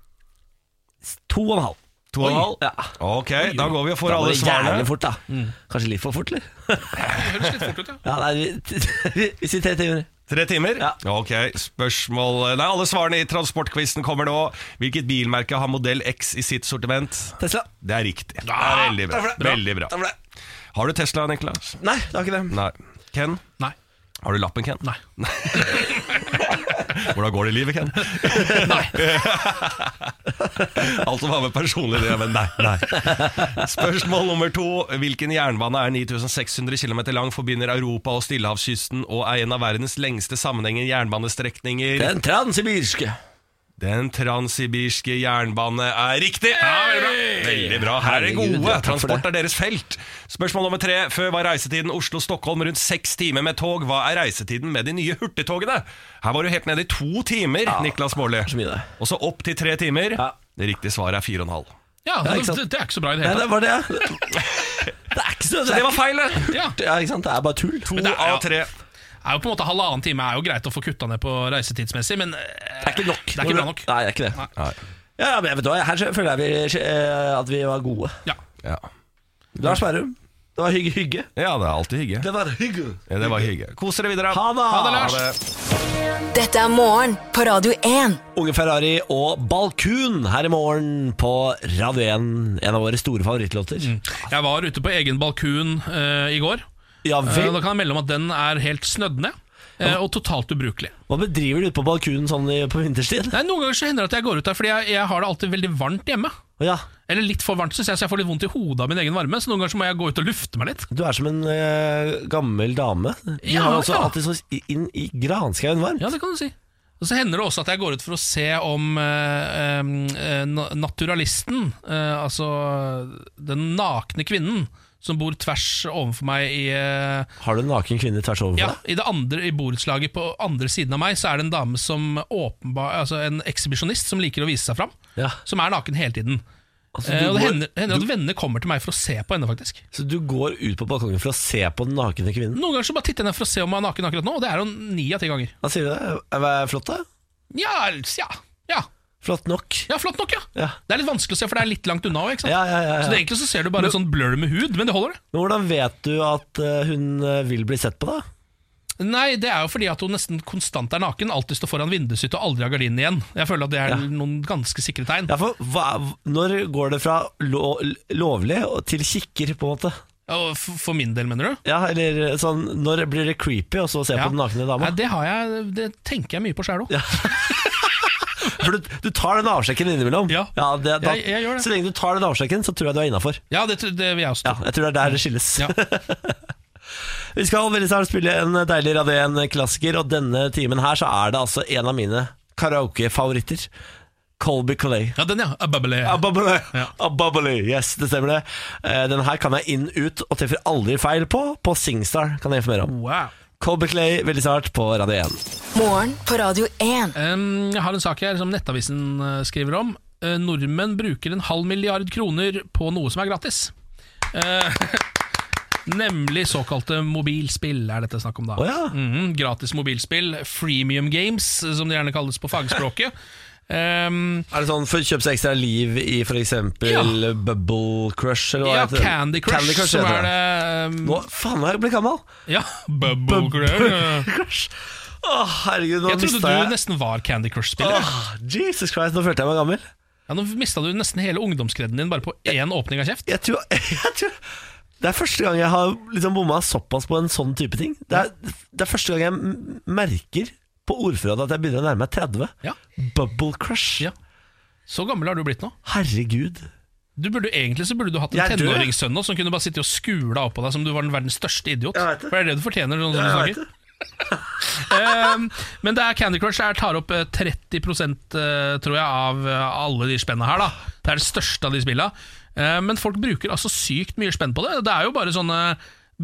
Speaker 1: To og en halv.
Speaker 5: To og en
Speaker 1: Oi.
Speaker 5: halv?
Speaker 1: Ja.
Speaker 5: Ok, da går vi og får
Speaker 1: Da går
Speaker 5: alle
Speaker 1: det jævlig
Speaker 5: svarene.
Speaker 1: fort, da.
Speaker 5: Mm.
Speaker 1: Kanskje litt for fort, eller?
Speaker 2: Det høres litt fort ut, ja.
Speaker 1: Ja, nei, vi, [LAUGHS] vi sier tre timer.
Speaker 5: Tre timer?
Speaker 1: Ja.
Speaker 5: Ok, spørsmål eh, Nei, alle svarene i transportquizen kommer nå. Hvilket bilmerke har modell X i sitt sortiment?
Speaker 1: Tesla?
Speaker 5: Det er riktig. Det
Speaker 2: Ja,
Speaker 5: er veldig bra.
Speaker 1: takk for det.
Speaker 5: Veldig bra.
Speaker 1: Takk for det.
Speaker 5: Har du Tesla, Niklas?
Speaker 1: Nei, det har ikke det.
Speaker 5: Nei. Ken?
Speaker 2: Nei.
Speaker 5: Har du lappen, Ken?
Speaker 2: Nei.
Speaker 5: [LAUGHS] Hvordan går det i
Speaker 1: [LAUGHS]
Speaker 5: livet, Ken?
Speaker 2: Nei.
Speaker 5: Alt som har Altså, med personlig det, men nei, nei. Spørsmål nummer to. Hvilken jernbane er 9600 km lang, forbinder Europa og Stillehavskysten og er en av verdens lengste sammenhengende jernbanestrekninger?
Speaker 1: Den transsibirske.
Speaker 5: Den transsibirske jernbane er riktig! veldig bra. Veldig bra. Her er
Speaker 1: Herregud,
Speaker 5: gode.
Speaker 1: ja, takk for
Speaker 5: Transport er deres felt. Spørsmål nummer tre. Før var reisetiden Oslo-Stockholm rundt seks timer med tog. Hva er reisetiden med de nye hurtigtogene? Her var du helt nede i to timer, Niklas Baarli.
Speaker 1: så mye det.
Speaker 5: Og så opp til tre timer.
Speaker 1: Ja.
Speaker 5: Det riktige svaret er fire og en halv.
Speaker 2: Ja,
Speaker 1: ikke
Speaker 2: det,
Speaker 1: sant.
Speaker 2: det er ikke så bra i det
Speaker 1: Nei,
Speaker 2: hele
Speaker 1: det
Speaker 2: tatt.
Speaker 1: var
Speaker 5: [LAUGHS]
Speaker 1: det. Det er ikke så
Speaker 5: Så det var feil, det!
Speaker 2: Ja.
Speaker 1: Ja, ikke sant? Det er bare tull.
Speaker 5: To
Speaker 1: Men det,
Speaker 5: av tre.
Speaker 2: er jo på en måte Halvannen time er jo greit å få kutta ned på reisetidsmessig, men eh,
Speaker 1: det er ikke nok.
Speaker 2: Det er ikke bra nok.
Speaker 1: Nei, det er ikke det.
Speaker 5: Nei.
Speaker 1: Ja, men jeg vet du hva, Her føler jeg vi, eh, at vi var gode.
Speaker 2: Ja.
Speaker 5: Ja.
Speaker 1: Lars Bærum, det var hygge, hygge.
Speaker 5: ja, det er alltid hygge.
Speaker 1: Det var hygge.
Speaker 5: Ja, det var hygge. Kos dere videre.
Speaker 1: Ha det.
Speaker 2: Ha det, Lars.
Speaker 3: Dette er morgen på Radio 1.
Speaker 1: Unge Ferrari og Balkun her i morgen på Radio 1, en av våre store favorittlåter.
Speaker 2: Mm. Jeg var ute på egen balkun eh, i går.
Speaker 1: Ja
Speaker 2: Eh,
Speaker 1: vel.
Speaker 2: da kan jeg melde om at den er helt snødd ned. eh, Og totalt ubrukelig.
Speaker 1: Hva bedriver du ute på balkunen sånn i, på vinterstid?
Speaker 2: Nei, Noen ganger så hender det at jeg går ut der, fordi jeg, jeg har det alltid veldig varmt hjemme.
Speaker 1: Ja,
Speaker 2: Eller litt for varmt, synes jeg, så jeg får litt vondt i hodet av min egen varme. Så noen ganger så må jeg gå ut og lufte meg litt.
Speaker 1: Du er som en eh, gammel dame. Du
Speaker 2: Ja,
Speaker 1: har også
Speaker 2: ja.
Speaker 1: alltid så inn i granskauen varm.
Speaker 2: Ja, det kan du si. Og så hender det også at jeg går ut for å se om eh, eh, na- naturalisten, eh, altså den nakne kvinnen, som bor tvers overfor meg i eh,
Speaker 1: Har du en naken kvinne tvers overfor
Speaker 2: Ja,
Speaker 1: deg?
Speaker 2: i det andre i borettslaget på andre siden av meg Så er det en dame som åpenbar Altså en ekshibisjonist som liker å vise seg fram
Speaker 1: Ja.
Speaker 2: Som er naken hele tiden
Speaker 1: Altså,
Speaker 2: Eh,
Speaker 1: du
Speaker 2: Og det
Speaker 1: går-
Speaker 2: hender, hender at venner kommer til meg for å se på henne faktisk
Speaker 1: Så du går ut på balkongen for å se på den nakne kvinnen?
Speaker 2: Noen ganger så bare titter jeg ned for å se om hun er naken akkurat nå Og det er hun ni av ti ganger
Speaker 1: Hva sier du det? Er det flott, da?
Speaker 2: ja, altså, ja, ja,
Speaker 1: Flott nok?
Speaker 2: ja, flott nok ja
Speaker 1: Ja.
Speaker 2: Det er litt vanskelig å se for det er litt langt unna også, ikke sant?
Speaker 1: Ja, ja, ja,
Speaker 2: Så det,
Speaker 1: ja.
Speaker 2: egentlig så ser du bare en sånn blur med hud Men det holder det
Speaker 1: Men hvordan vet du at eh, hun eh, vil bli sett på, da?
Speaker 2: Nei, det er jo fordi at hun nesten konstant er naken Altid står foran vinduet sitt og aldri har gardinen igjen Jeg føler at det er noen ganske sikre tegn
Speaker 1: Ja, for hva, Når går det fra lo, lovlig og til kikker, på en måte?
Speaker 2: Og For for min del, mener du?
Speaker 1: Ja, eller sånn Når blir det creepy å så se
Speaker 2: Ja.
Speaker 1: på den nakne dama?
Speaker 2: Nei, det, har jeg, det tenker jeg mye på sjæl òg.
Speaker 1: For du, du tar den avsjekken innimellom.
Speaker 2: Ja.
Speaker 1: det, da,
Speaker 2: Jeg- jeg gjør det.
Speaker 1: Så lenge du tar den avsjekken, så tror jeg du er innafor.
Speaker 2: Ja, det, det vil jeg også
Speaker 1: Ja,
Speaker 2: tro.
Speaker 1: jeg tror det er der det skilles.
Speaker 2: Ja.
Speaker 1: [LAUGHS] Vi skal veldig snart spille en deilig Radio 1-klassiker, og denne timen her så er det altså en av mine karaokefavoritter. Colby Clay.
Speaker 2: Ja, den, ja. Ababele.
Speaker 1: Ababale,
Speaker 2: Ja.
Speaker 1: ababale, yes, det stemmer det. Eh, Den her kan jeg inn ut og treffer aldri feil på. På Singstar kan jeg informere om.
Speaker 2: Wow.
Speaker 1: Colby Clay, veldig snart på Radio 1.
Speaker 3: Morgen på Radio 1.
Speaker 2: Em, jeg har en sak her som Nettavisen eh, skriver om. Eh, nordmenn bruker en halv milliard kroner på noe som er gratis. Eh, [LAUGHS] nemlig såkalte mobilspill, er dette snakk om da.
Speaker 1: Å ja.
Speaker 2: Mhm, gratis mobilspill, freemium games, eh, som det gjerne kalles på fagspråket. Em,
Speaker 1: Er det sånn for å kjøpe seg ekstra liv i f.eks.
Speaker 2: Ja.
Speaker 1: Bubble Crush? Eller hva
Speaker 2: ja,
Speaker 1: heter det?
Speaker 2: Candy Crush, som
Speaker 1: heter
Speaker 2: er det em,
Speaker 1: Nå, faen, nå har jeg blitt gammel!
Speaker 2: Ja, Bubble Crush.
Speaker 1: Crush. Å, herregud, nå
Speaker 2: Jeg trodde
Speaker 1: mista
Speaker 2: du
Speaker 1: jeg
Speaker 2: nesten var Candy Crush-spiller.
Speaker 1: Åh, Jesus Christ, nå følte jeg meg gammel.
Speaker 2: Ja, nå mista du nesten hele ungdomskredden din bare på én åpning av kjeft.
Speaker 1: Jeg tror, [LAUGHS] jeg tror Det er første gang jeg har liksom bomma såpass på en sånn type ting. Det er, det er første gang jeg m- merker på ordforrådet at jeg begynner å nærme meg 30.
Speaker 2: Ja.
Speaker 1: Bubble Crush.
Speaker 2: Ja. Så gammel har du blitt nå.
Speaker 1: Herregud.
Speaker 2: Du burde, egentlig så burde du hatt en
Speaker 1: Jeg er død, jeg.
Speaker 2: tenåringssønn nå som kunne bare sitte og skule av på deg som du var den verdens største idiot.
Speaker 1: Jeg vet det.
Speaker 2: For det er det du fortjener. Sånn som du
Speaker 1: Jeg vet
Speaker 2: snakker. Ehm, men det er Candy Crush jeg tar opp eh, 30 eh, tror jeg, av eh, alle de spennene her. da Det er det største av de spilla. Eh, Men folk bruker altså sykt mye spenn på det. Det er jo bare sånne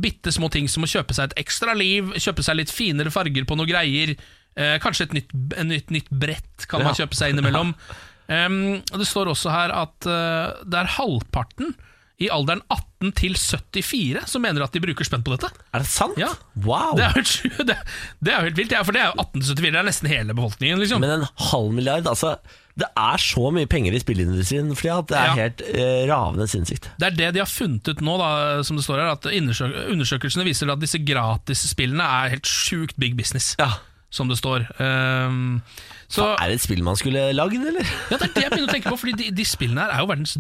Speaker 2: bitte små ting som å kjøpe seg et ekstra liv, kjøpe seg litt finere farger på noe greier. eh, Kanskje et nytt, en nytt, nytt brett kan man
Speaker 1: Ja.
Speaker 2: kjøpe seg innimellom. Ehm, og det står også her at eh, det er halvparten i alderen 18 til 74 som mener at de bruker spenn på dette.
Speaker 1: Er det sant?
Speaker 2: Ja.
Speaker 1: Wow!
Speaker 2: Det er jo, helt- det, det er jo helt vilt, ja, for det er jo 1874, det er nesten hele befolkningen. liksom
Speaker 1: Men en halv milliard, altså. Det er så mye penger i spillindustrien for tida at det er
Speaker 2: Ja.
Speaker 1: helt eh, ravende sinnssykt.
Speaker 2: Det er det de har funnet ut nå, da, som det står her, at undersøk undersøkelsene viser at disse gratisspillene er helt sjukt big business,
Speaker 1: Ja.
Speaker 2: som det står. Ehm, så
Speaker 1: Er det et spill man skulle lagd, eller?
Speaker 2: ja, Det er det jeg begynner å tenke på, Fordi de, de spillene her er jo verdens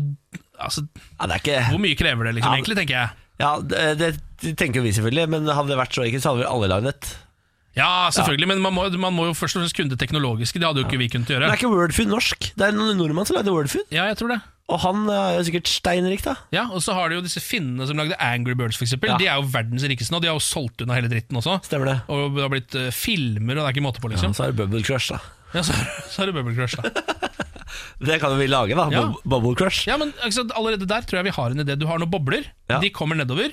Speaker 2: Altså,
Speaker 1: Ja, det er ikke
Speaker 2: Hvor mye krever det, liksom,
Speaker 1: Ja.
Speaker 2: egentlig, tenker jeg.
Speaker 1: Ja, det, det tenker jo vi selvfølgelig, men hadde det vært så enkelt, så hadde vel alle lagd et.
Speaker 2: Ja, selvfølgelig, men man må, man må jo først og fremst kunne det teknologiske. Det hadde jo ikke vi kunnet
Speaker 1: Men
Speaker 2: gjøre.
Speaker 1: er ikke Wordfeud norsk? Det er noen nordmann som lagde Wordfeud,
Speaker 2: Ja, jeg tror det
Speaker 1: og han eh, er jo sikkert steinrik, da.
Speaker 2: Ja, Og så har du jo disse finnene som lagde Angry Birds, for eksempel
Speaker 1: Ja.
Speaker 2: De er jo verdens rikeste nå. De har jo solgt unna hele dritten også.
Speaker 1: Stemmer det.
Speaker 2: Og det har blitt eh, filmer, og det er ikke måte på,
Speaker 1: Ja,
Speaker 2: liksom.
Speaker 1: så er det Bubble Crush, da.
Speaker 2: Ja, så, så er det Bubble Crush, da.
Speaker 1: Det kan jo vi lage, da.
Speaker 2: Ja.
Speaker 1: Bub- Bubble Crush.
Speaker 2: Ja, men ikke sant, Allerede der tror jeg vi har en idé. Du har noen bobler,
Speaker 1: Ja.
Speaker 2: de kommer nedover.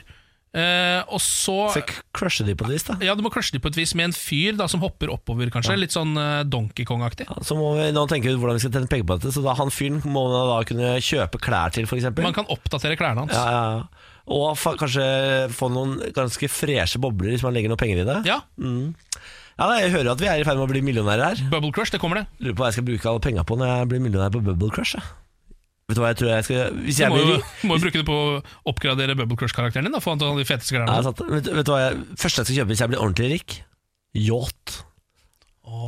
Speaker 2: eh, og så
Speaker 1: Så k- crusher de på det vis, da.
Speaker 2: Ja, Du må crushe dem på et vis med en fyr da som hopper oppover, kanskje. Litt sånn eh, Donkey Kong-aktig.
Speaker 1: Så må vi nå tenke ut hvordan vi skal tjene penger på dette, så da han fyren må man da kunne kjøpe klær til, f.eks.
Speaker 2: Man kan oppdatere klærne hans.
Speaker 1: Ja, ja. ja. Og fa kanskje få noen ganske freshe bobler hvis man legger noen penger i det.
Speaker 2: Ja,
Speaker 1: Ja, da, Jeg hører jo at vi er i ferd med å bli millionærer her.
Speaker 2: Bubble Crush, det kommer det.
Speaker 1: Lurer på hva jeg skal bruke alle penga på når jeg blir millionær på Bubble Crush. jeg. Vet du hva jeg tror jeg skal Hvis
Speaker 2: Du
Speaker 1: jeg
Speaker 2: må
Speaker 1: blir
Speaker 2: jo,
Speaker 1: rik
Speaker 2: må jo bruke det på å oppgradere Bubble Crush-karakteren din. da Få han til å ha de feteste
Speaker 1: ja,
Speaker 2: klærne.
Speaker 1: sant. vet, vet du hva jeg første jeg skal kjøpe hvis jeg blir ordentlig rik? Yacht.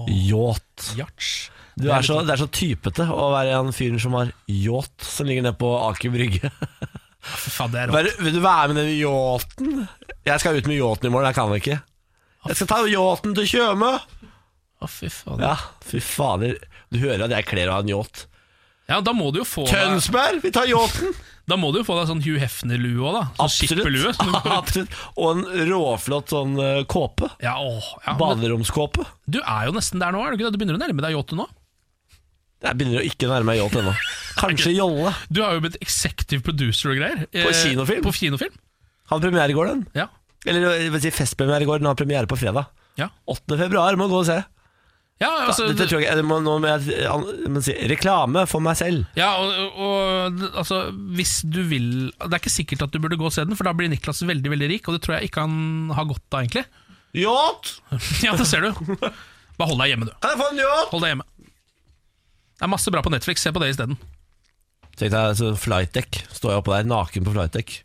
Speaker 1: Yacht.
Speaker 2: Yacht.
Speaker 1: Du er så, det er så typete å være han fyren som har yacht som ligger nede på Aker Brygge.
Speaker 2: Fy sånn, faen, det er rått.
Speaker 1: Vær, vil du være med den yachten? Jeg skal ut med yachten i morgen, jeg kan ikke. Jeg skal ta yachten til Tjøme!
Speaker 2: Å, fy faen. Ja.
Speaker 1: Ja, fy fader. Du hører at jeg kler å ha en yacht.
Speaker 2: da må du jo få deg,
Speaker 1: Tønsberg, vi tar
Speaker 2: [LAUGHS]
Speaker 1: yachten!
Speaker 2: da må du jo få deg sånn Hugh Hefner-lue òg, da. Sånn skipperlue.
Speaker 1: [LAUGHS] Absolutt.
Speaker 2: som du går ut-
Speaker 1: Absolutt. Og en råflott sånn eh, kåpe.
Speaker 2: Ja, åh, ja, men
Speaker 1: Baderomskåpe.
Speaker 2: du er jo nesten der nå, er du ikke det? Du begynner å nærme deg yachten nå?
Speaker 1: Jeg begynner å ikke nærme meg yacht
Speaker 2: [LAUGHS]
Speaker 1: ennå. Kanskje jolle.
Speaker 2: Du har jo blitt executive producer og greier. eh,
Speaker 1: På kinofilm?
Speaker 2: På kinofilm,
Speaker 1: Hadde premiere i går, den.
Speaker 2: ja.
Speaker 1: Eller jeg vil si festpremiere i går. Den har premiere på fredag.
Speaker 2: Ja.
Speaker 1: 8. februar, må gå og se.
Speaker 2: Ja, altså,
Speaker 1: Dette tror jeg, ikke- det må, nå må jeg, jeg må si reklame for meg selv.
Speaker 2: ja og, og altså, hvis du vil Det er ikke sikkert at du burde gå og se den, for da blir Niklas veldig veldig rik, og det tror jeg ikke han har godt av, egentlig. [LAUGHS]
Speaker 1: Yacht!
Speaker 2: Ja, det ser du. Bare hold deg hjemme, du.
Speaker 1: Kan jeg få en yacht?
Speaker 2: Hold deg hjemme. Det er masse bra på Netflix, se på det isteden.
Speaker 1: Tenk deg så flightdeck. Står jeg oppå der naken på flightdeck.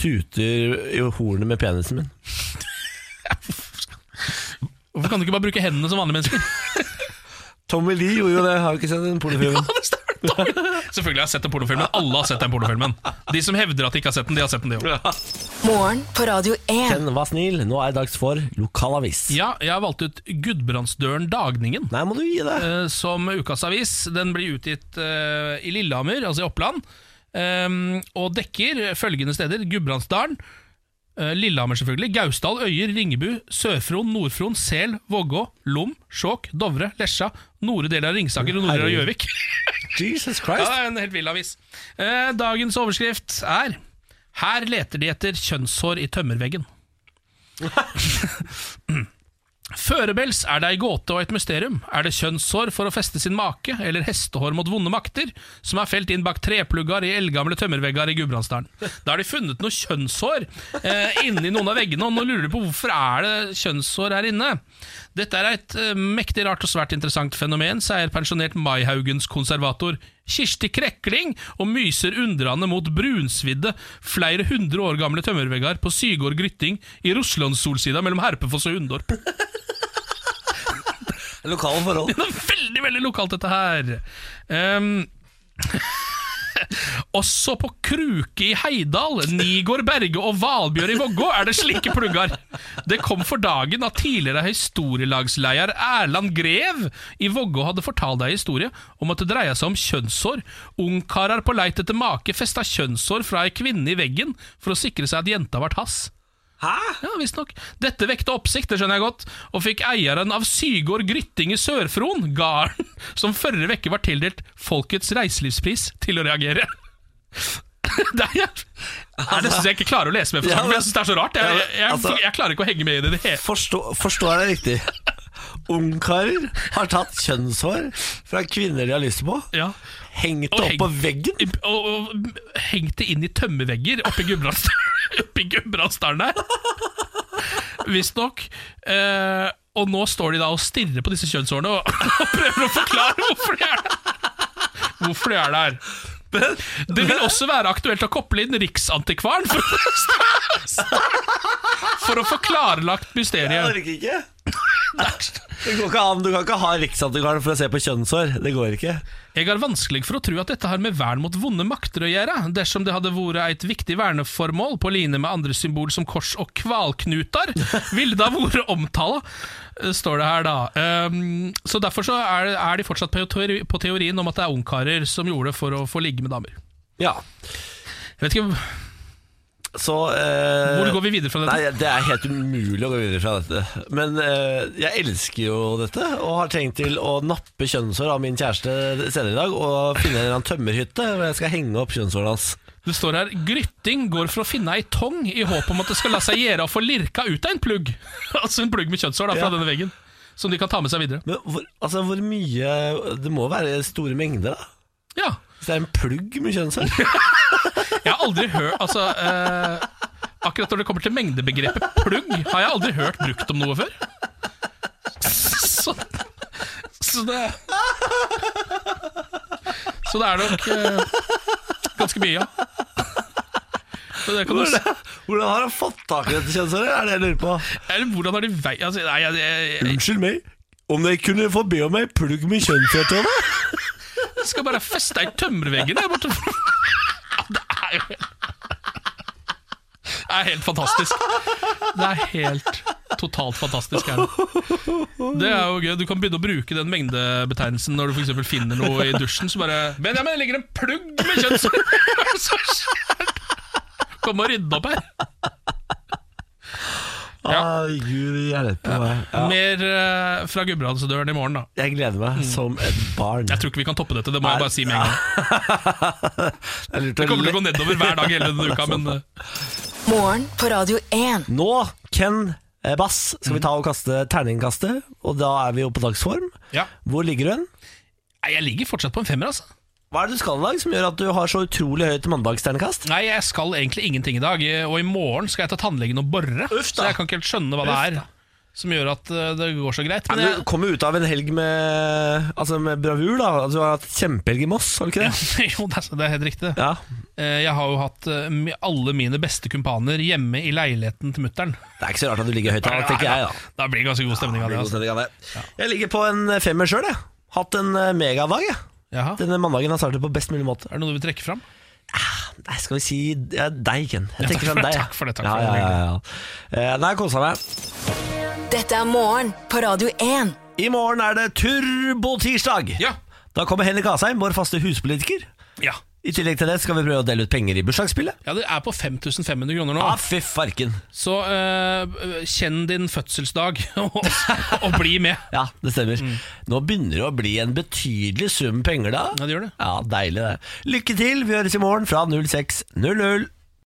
Speaker 1: Tuter i hornet med penisen min.
Speaker 2: Hvorfor kan du ikke bare bruke hendene som vanlige mennesker? [LAUGHS]
Speaker 1: Tommy Lee gjorde jo det. Har du ikke sett den [LAUGHS] pornofilmen?
Speaker 2: Ja, det stemmer. Selvfølgelig har jeg sett den pornofilmen. Alle har sett den pornofilmen. De som hevder at de ikke har sett den, de har sett den, de òg.
Speaker 3: Morgen på Radio 1.
Speaker 1: Ken, vær snill. Nå er det dags for lokalavis.
Speaker 2: Ja, jeg har valgt ut Gudbrandsdølen Dagningen.
Speaker 1: Nei, må du gi deg.
Speaker 2: eh, som ukas avis. Den blir utgitt eh, i Lillehammer, altså i Oppland, ehm, og dekker følgende steder. Gudbrandsdalen, eh, Lillehammer selvfølgelig, Gausdal, Øyer, Ringebu, Sør-Fron, Nord-Fron, Sel, Vågå, Lom, Skjåk, Dovre, Lesja, nordre del av Ringsaker og nordre del av
Speaker 1: Herregud.
Speaker 2: Gjøvik.
Speaker 1: Jesus
Speaker 2: Ja,
Speaker 1: Christ.
Speaker 2: det er en helt vill avis. Eh, Dagens overskrift er Her leter de etter kjønnshår i tømmerveggen. Førebels er det ei gåte og et mysterium. Er det kjønnshår for å feste sin make, eller hestehår mot vonde makter, som er felt inn bak treplugger i eldgamle tømmervegger i Gudbrandsdalen? Da har de funnet noe kjønnshår eh, inni noen av veggene, og nå lurer de på hvorfor er det kjønnshår her inne. Dette er et eh, mektig rart og svært interessant fenomen, sier pensjonert Maihaugens konservator Kirsti Krekling, og myser undrende mot brunsvidde, flere hundre år gamle tømmervegger på Sygård Grytting i Russlandssolsida mellom Herpefoss og Hundorp.
Speaker 1: Lokale forhold.
Speaker 2: Det er veldig, veldig lokalt dette her. Ehm, [LAUGHS] Også på Kruke i Heidal, Nigård Berge og Valbjørn i Vågå er det slike plugger. Det kom for dagen at tidligere historielagsleder Erland Grev i Vågå hadde fortalt ei historie om at det dreia seg om kjønnshår. Ungkarer på leit etter make festa kjønnshår fra ei kvinne i veggen for å sikre seg at jenta ble hans. Ja, visstnok. Dette vekte oppsikt, det skjønner jeg godt, og fikk eieren av Sygård Grytting i Sør-Fron, gården, [LAUGHS] som forrige uke var tildelt Folkets reiselivspris, til å reagere. [LAUGHS] Det er, Nei, det syns jeg ikke klarer å lese med for
Speaker 1: Ja,
Speaker 2: saken, for
Speaker 1: men-
Speaker 2: jeg syns det er så rart.
Speaker 1: Altså, Ja,
Speaker 2: Jeg,
Speaker 1: men,
Speaker 2: jeg, jeg,
Speaker 1: altså-
Speaker 2: jeg klarer ikke å henge med i det. i det. hele-
Speaker 1: Forstå- Forstår jeg det riktig? Ungkarer har tatt kjønnshår fra kvinner de har lyst på,
Speaker 2: Ja.
Speaker 1: hengt det
Speaker 2: Og
Speaker 1: opp
Speaker 2: hengt-
Speaker 1: på veggen.
Speaker 2: Og, og hengt det inn i tømmervegger oppe i Gudbrandsdalen [LAUGHS] Oppe i Gudbrandsdalen der. Visstnok. Eh, og nå står de da og stirrer på disse kjønnshårene og, [LAUGHS] og prøver å forklare hvorfor de er der. Hvorfor de er der. Det vil også være aktuelt å koble inn Riksantikvaren for, for å få klarlagt
Speaker 1: Jeg
Speaker 2: mysteriet.
Speaker 1: orker [LAUGHS] ikke. Det går ikke an. Du kan ikke ha Riksantikvaren for å se på kjønnshår. Det går ikke.
Speaker 2: Jeg har vanskelig for å tro at dette har med vern mot vonde makter å gjøre, dersom det hadde vært et viktig verneformål på line med andre symbol som kors og kvalknutar, ville det ha vært omtala, eh, står det her da. Ehm, så derfor så er, er de fortsatt på, teori, på teorien om at det er ungkarer som gjorde det for å få ligge med damer.
Speaker 1: Ja,
Speaker 2: Jeg vet ikke,
Speaker 1: så eh,
Speaker 2: Hvor går vi videre fra dette?
Speaker 1: Nei, Det er helt umulig å gå videre fra dette. Men eh, jeg elsker jo dette, og har tenkt til å nappe kjønnshår av min kjæreste senere i dag. Og finne en eller annen tømmerhytte hvor jeg skal henge opp kjønnshåret hans.
Speaker 2: Det står her Grytting går for å finne ei tong i håp om at det skal la seg gjøre å få lirka ut av en plugg. [LAUGHS] altså en plugg med kjønnshår da, fra
Speaker 1: Ja.
Speaker 2: denne veggen, som de kan ta med seg videre.
Speaker 1: Men hvor, altså, hvor mye Det må være store mengder, da?
Speaker 2: Ja,
Speaker 1: Hvis det er en plugg med
Speaker 2: [LAUGHS]
Speaker 1: kjønnshår?
Speaker 2: Jeg har aldri hørt Altså eh, Akkurat når det kommer til mengdebegrepet plugg, har jeg aldri hørt brukt om noe før. Så, så det Så det er nok eh, ganske mye, ja. Så det kan du, s-
Speaker 1: Hvordan har han fått tak i dette kjønnshåret? Er det jeg lurer på.
Speaker 2: eller hvordan har de vei... Altså, nei, jeg, jeg,
Speaker 1: Unnskyld meg, om dere kunne få be om ei plugg med kjønnshår til meg?
Speaker 2: jeg skal bare feste i tømmerveggen der borte. [LAUGHS] Ja, det er jo Det er helt fantastisk. Det er helt totalt fantastisk. Her. Det er jo gøy. Du kan begynne å bruke den mengdebetegnelsen når du for eksempel finner noe i dusjen. Så bare 'Benjamin, det ligger en plugg med [LAUGHS] kjønnshår!' Så skjært. Kom og rydde opp her. Ja.
Speaker 1: Ah, Gud hjelpe meg. Ja.
Speaker 2: Mer eh, fra Gudbrandsdøren i morgen, da.
Speaker 1: Jeg gleder meg som et barn.
Speaker 2: Mm. Jeg tror ikke vi kan toppe dette, det må jeg bare si med en gang.
Speaker 1: Det er lurt å
Speaker 2: Det kommer til å gå
Speaker 1: le-
Speaker 2: nedover hver dag hele denne uka, men eh,
Speaker 3: Morgen på Radio 1.
Speaker 1: Nå, Ken eh, Bass, skal vi ta og kaste terningkastet, og da er vi jo på dagsform.
Speaker 2: ja.
Speaker 1: Hvor ligger du hen?
Speaker 2: Nei, Jeg ligger fortsatt på en femmer, altså.
Speaker 1: Hva er det du skal i dag som gjør at du har så utrolig høyt mandagsternekast?
Speaker 2: Nei, jeg skal egentlig ingenting i dag, og i morgen skal jeg til tannlegen og borre.
Speaker 1: Uff da.
Speaker 2: Så jeg kan ikke helt skjønne hva det er som gjør at eh, det går så greit.
Speaker 1: Du
Speaker 2: Men jeg,
Speaker 1: kom jo ut av en helg med, altså med bravur, da. Altså, du har hatt kjempehelg i Moss, har du ikke det?
Speaker 2: [LAUGHS] jo, det er- det er helt riktig.
Speaker 1: Ja.
Speaker 2: Eh, Jeg har jo hatt eh, mi- alle mine beste kumpaner hjemme i leiligheten til mutter'n.
Speaker 1: Det er ikke så rart at du ligger høyt, da, tenker jeg, da.
Speaker 2: [LAUGHS] Da blir det ganske god stemning av det.
Speaker 1: God
Speaker 2: Altså.
Speaker 1: stemning av det. Jeg ligger på en eh, femmer sjøl, jeg. Hatt en eh, megadag, jeg.
Speaker 2: Jaha.
Speaker 1: Denne mandagen har startet på best mulig måte.
Speaker 2: Er det noe du vil trekke fram?
Speaker 1: Nei, skal vi si ja, deg, Ken. Jeg tenker sånn
Speaker 2: takk for det,
Speaker 1: deg. jeg.
Speaker 2: takk for det, takk
Speaker 1: ja,
Speaker 2: for det.
Speaker 1: ja, ja, ja. Eh, Nei, jeg kosa meg.
Speaker 3: Dette er morgen på Radio 1.
Speaker 1: I morgen er det turbotirsdag.
Speaker 2: Ja.
Speaker 1: Da kommer Henrik Asheim, vår faste huspolitiker.
Speaker 2: Ja.
Speaker 1: I tillegg til det skal vi prøve å dele ut penger i bursdagsspillet.
Speaker 2: ja, det er på 5500 kroner nå.
Speaker 1: Ja, fy farken.
Speaker 2: Så eh, kjenn din fødselsdag [LAUGHS] og, og bli med.
Speaker 1: Ja, det stemmer.
Speaker 2: Mm.
Speaker 1: Nå begynner det å bli en betydelig sum penger, da.
Speaker 2: Ja, det gjør det.
Speaker 1: Ja, Deilig, det. Lykke til. Vi høres i morgen fra 06.00.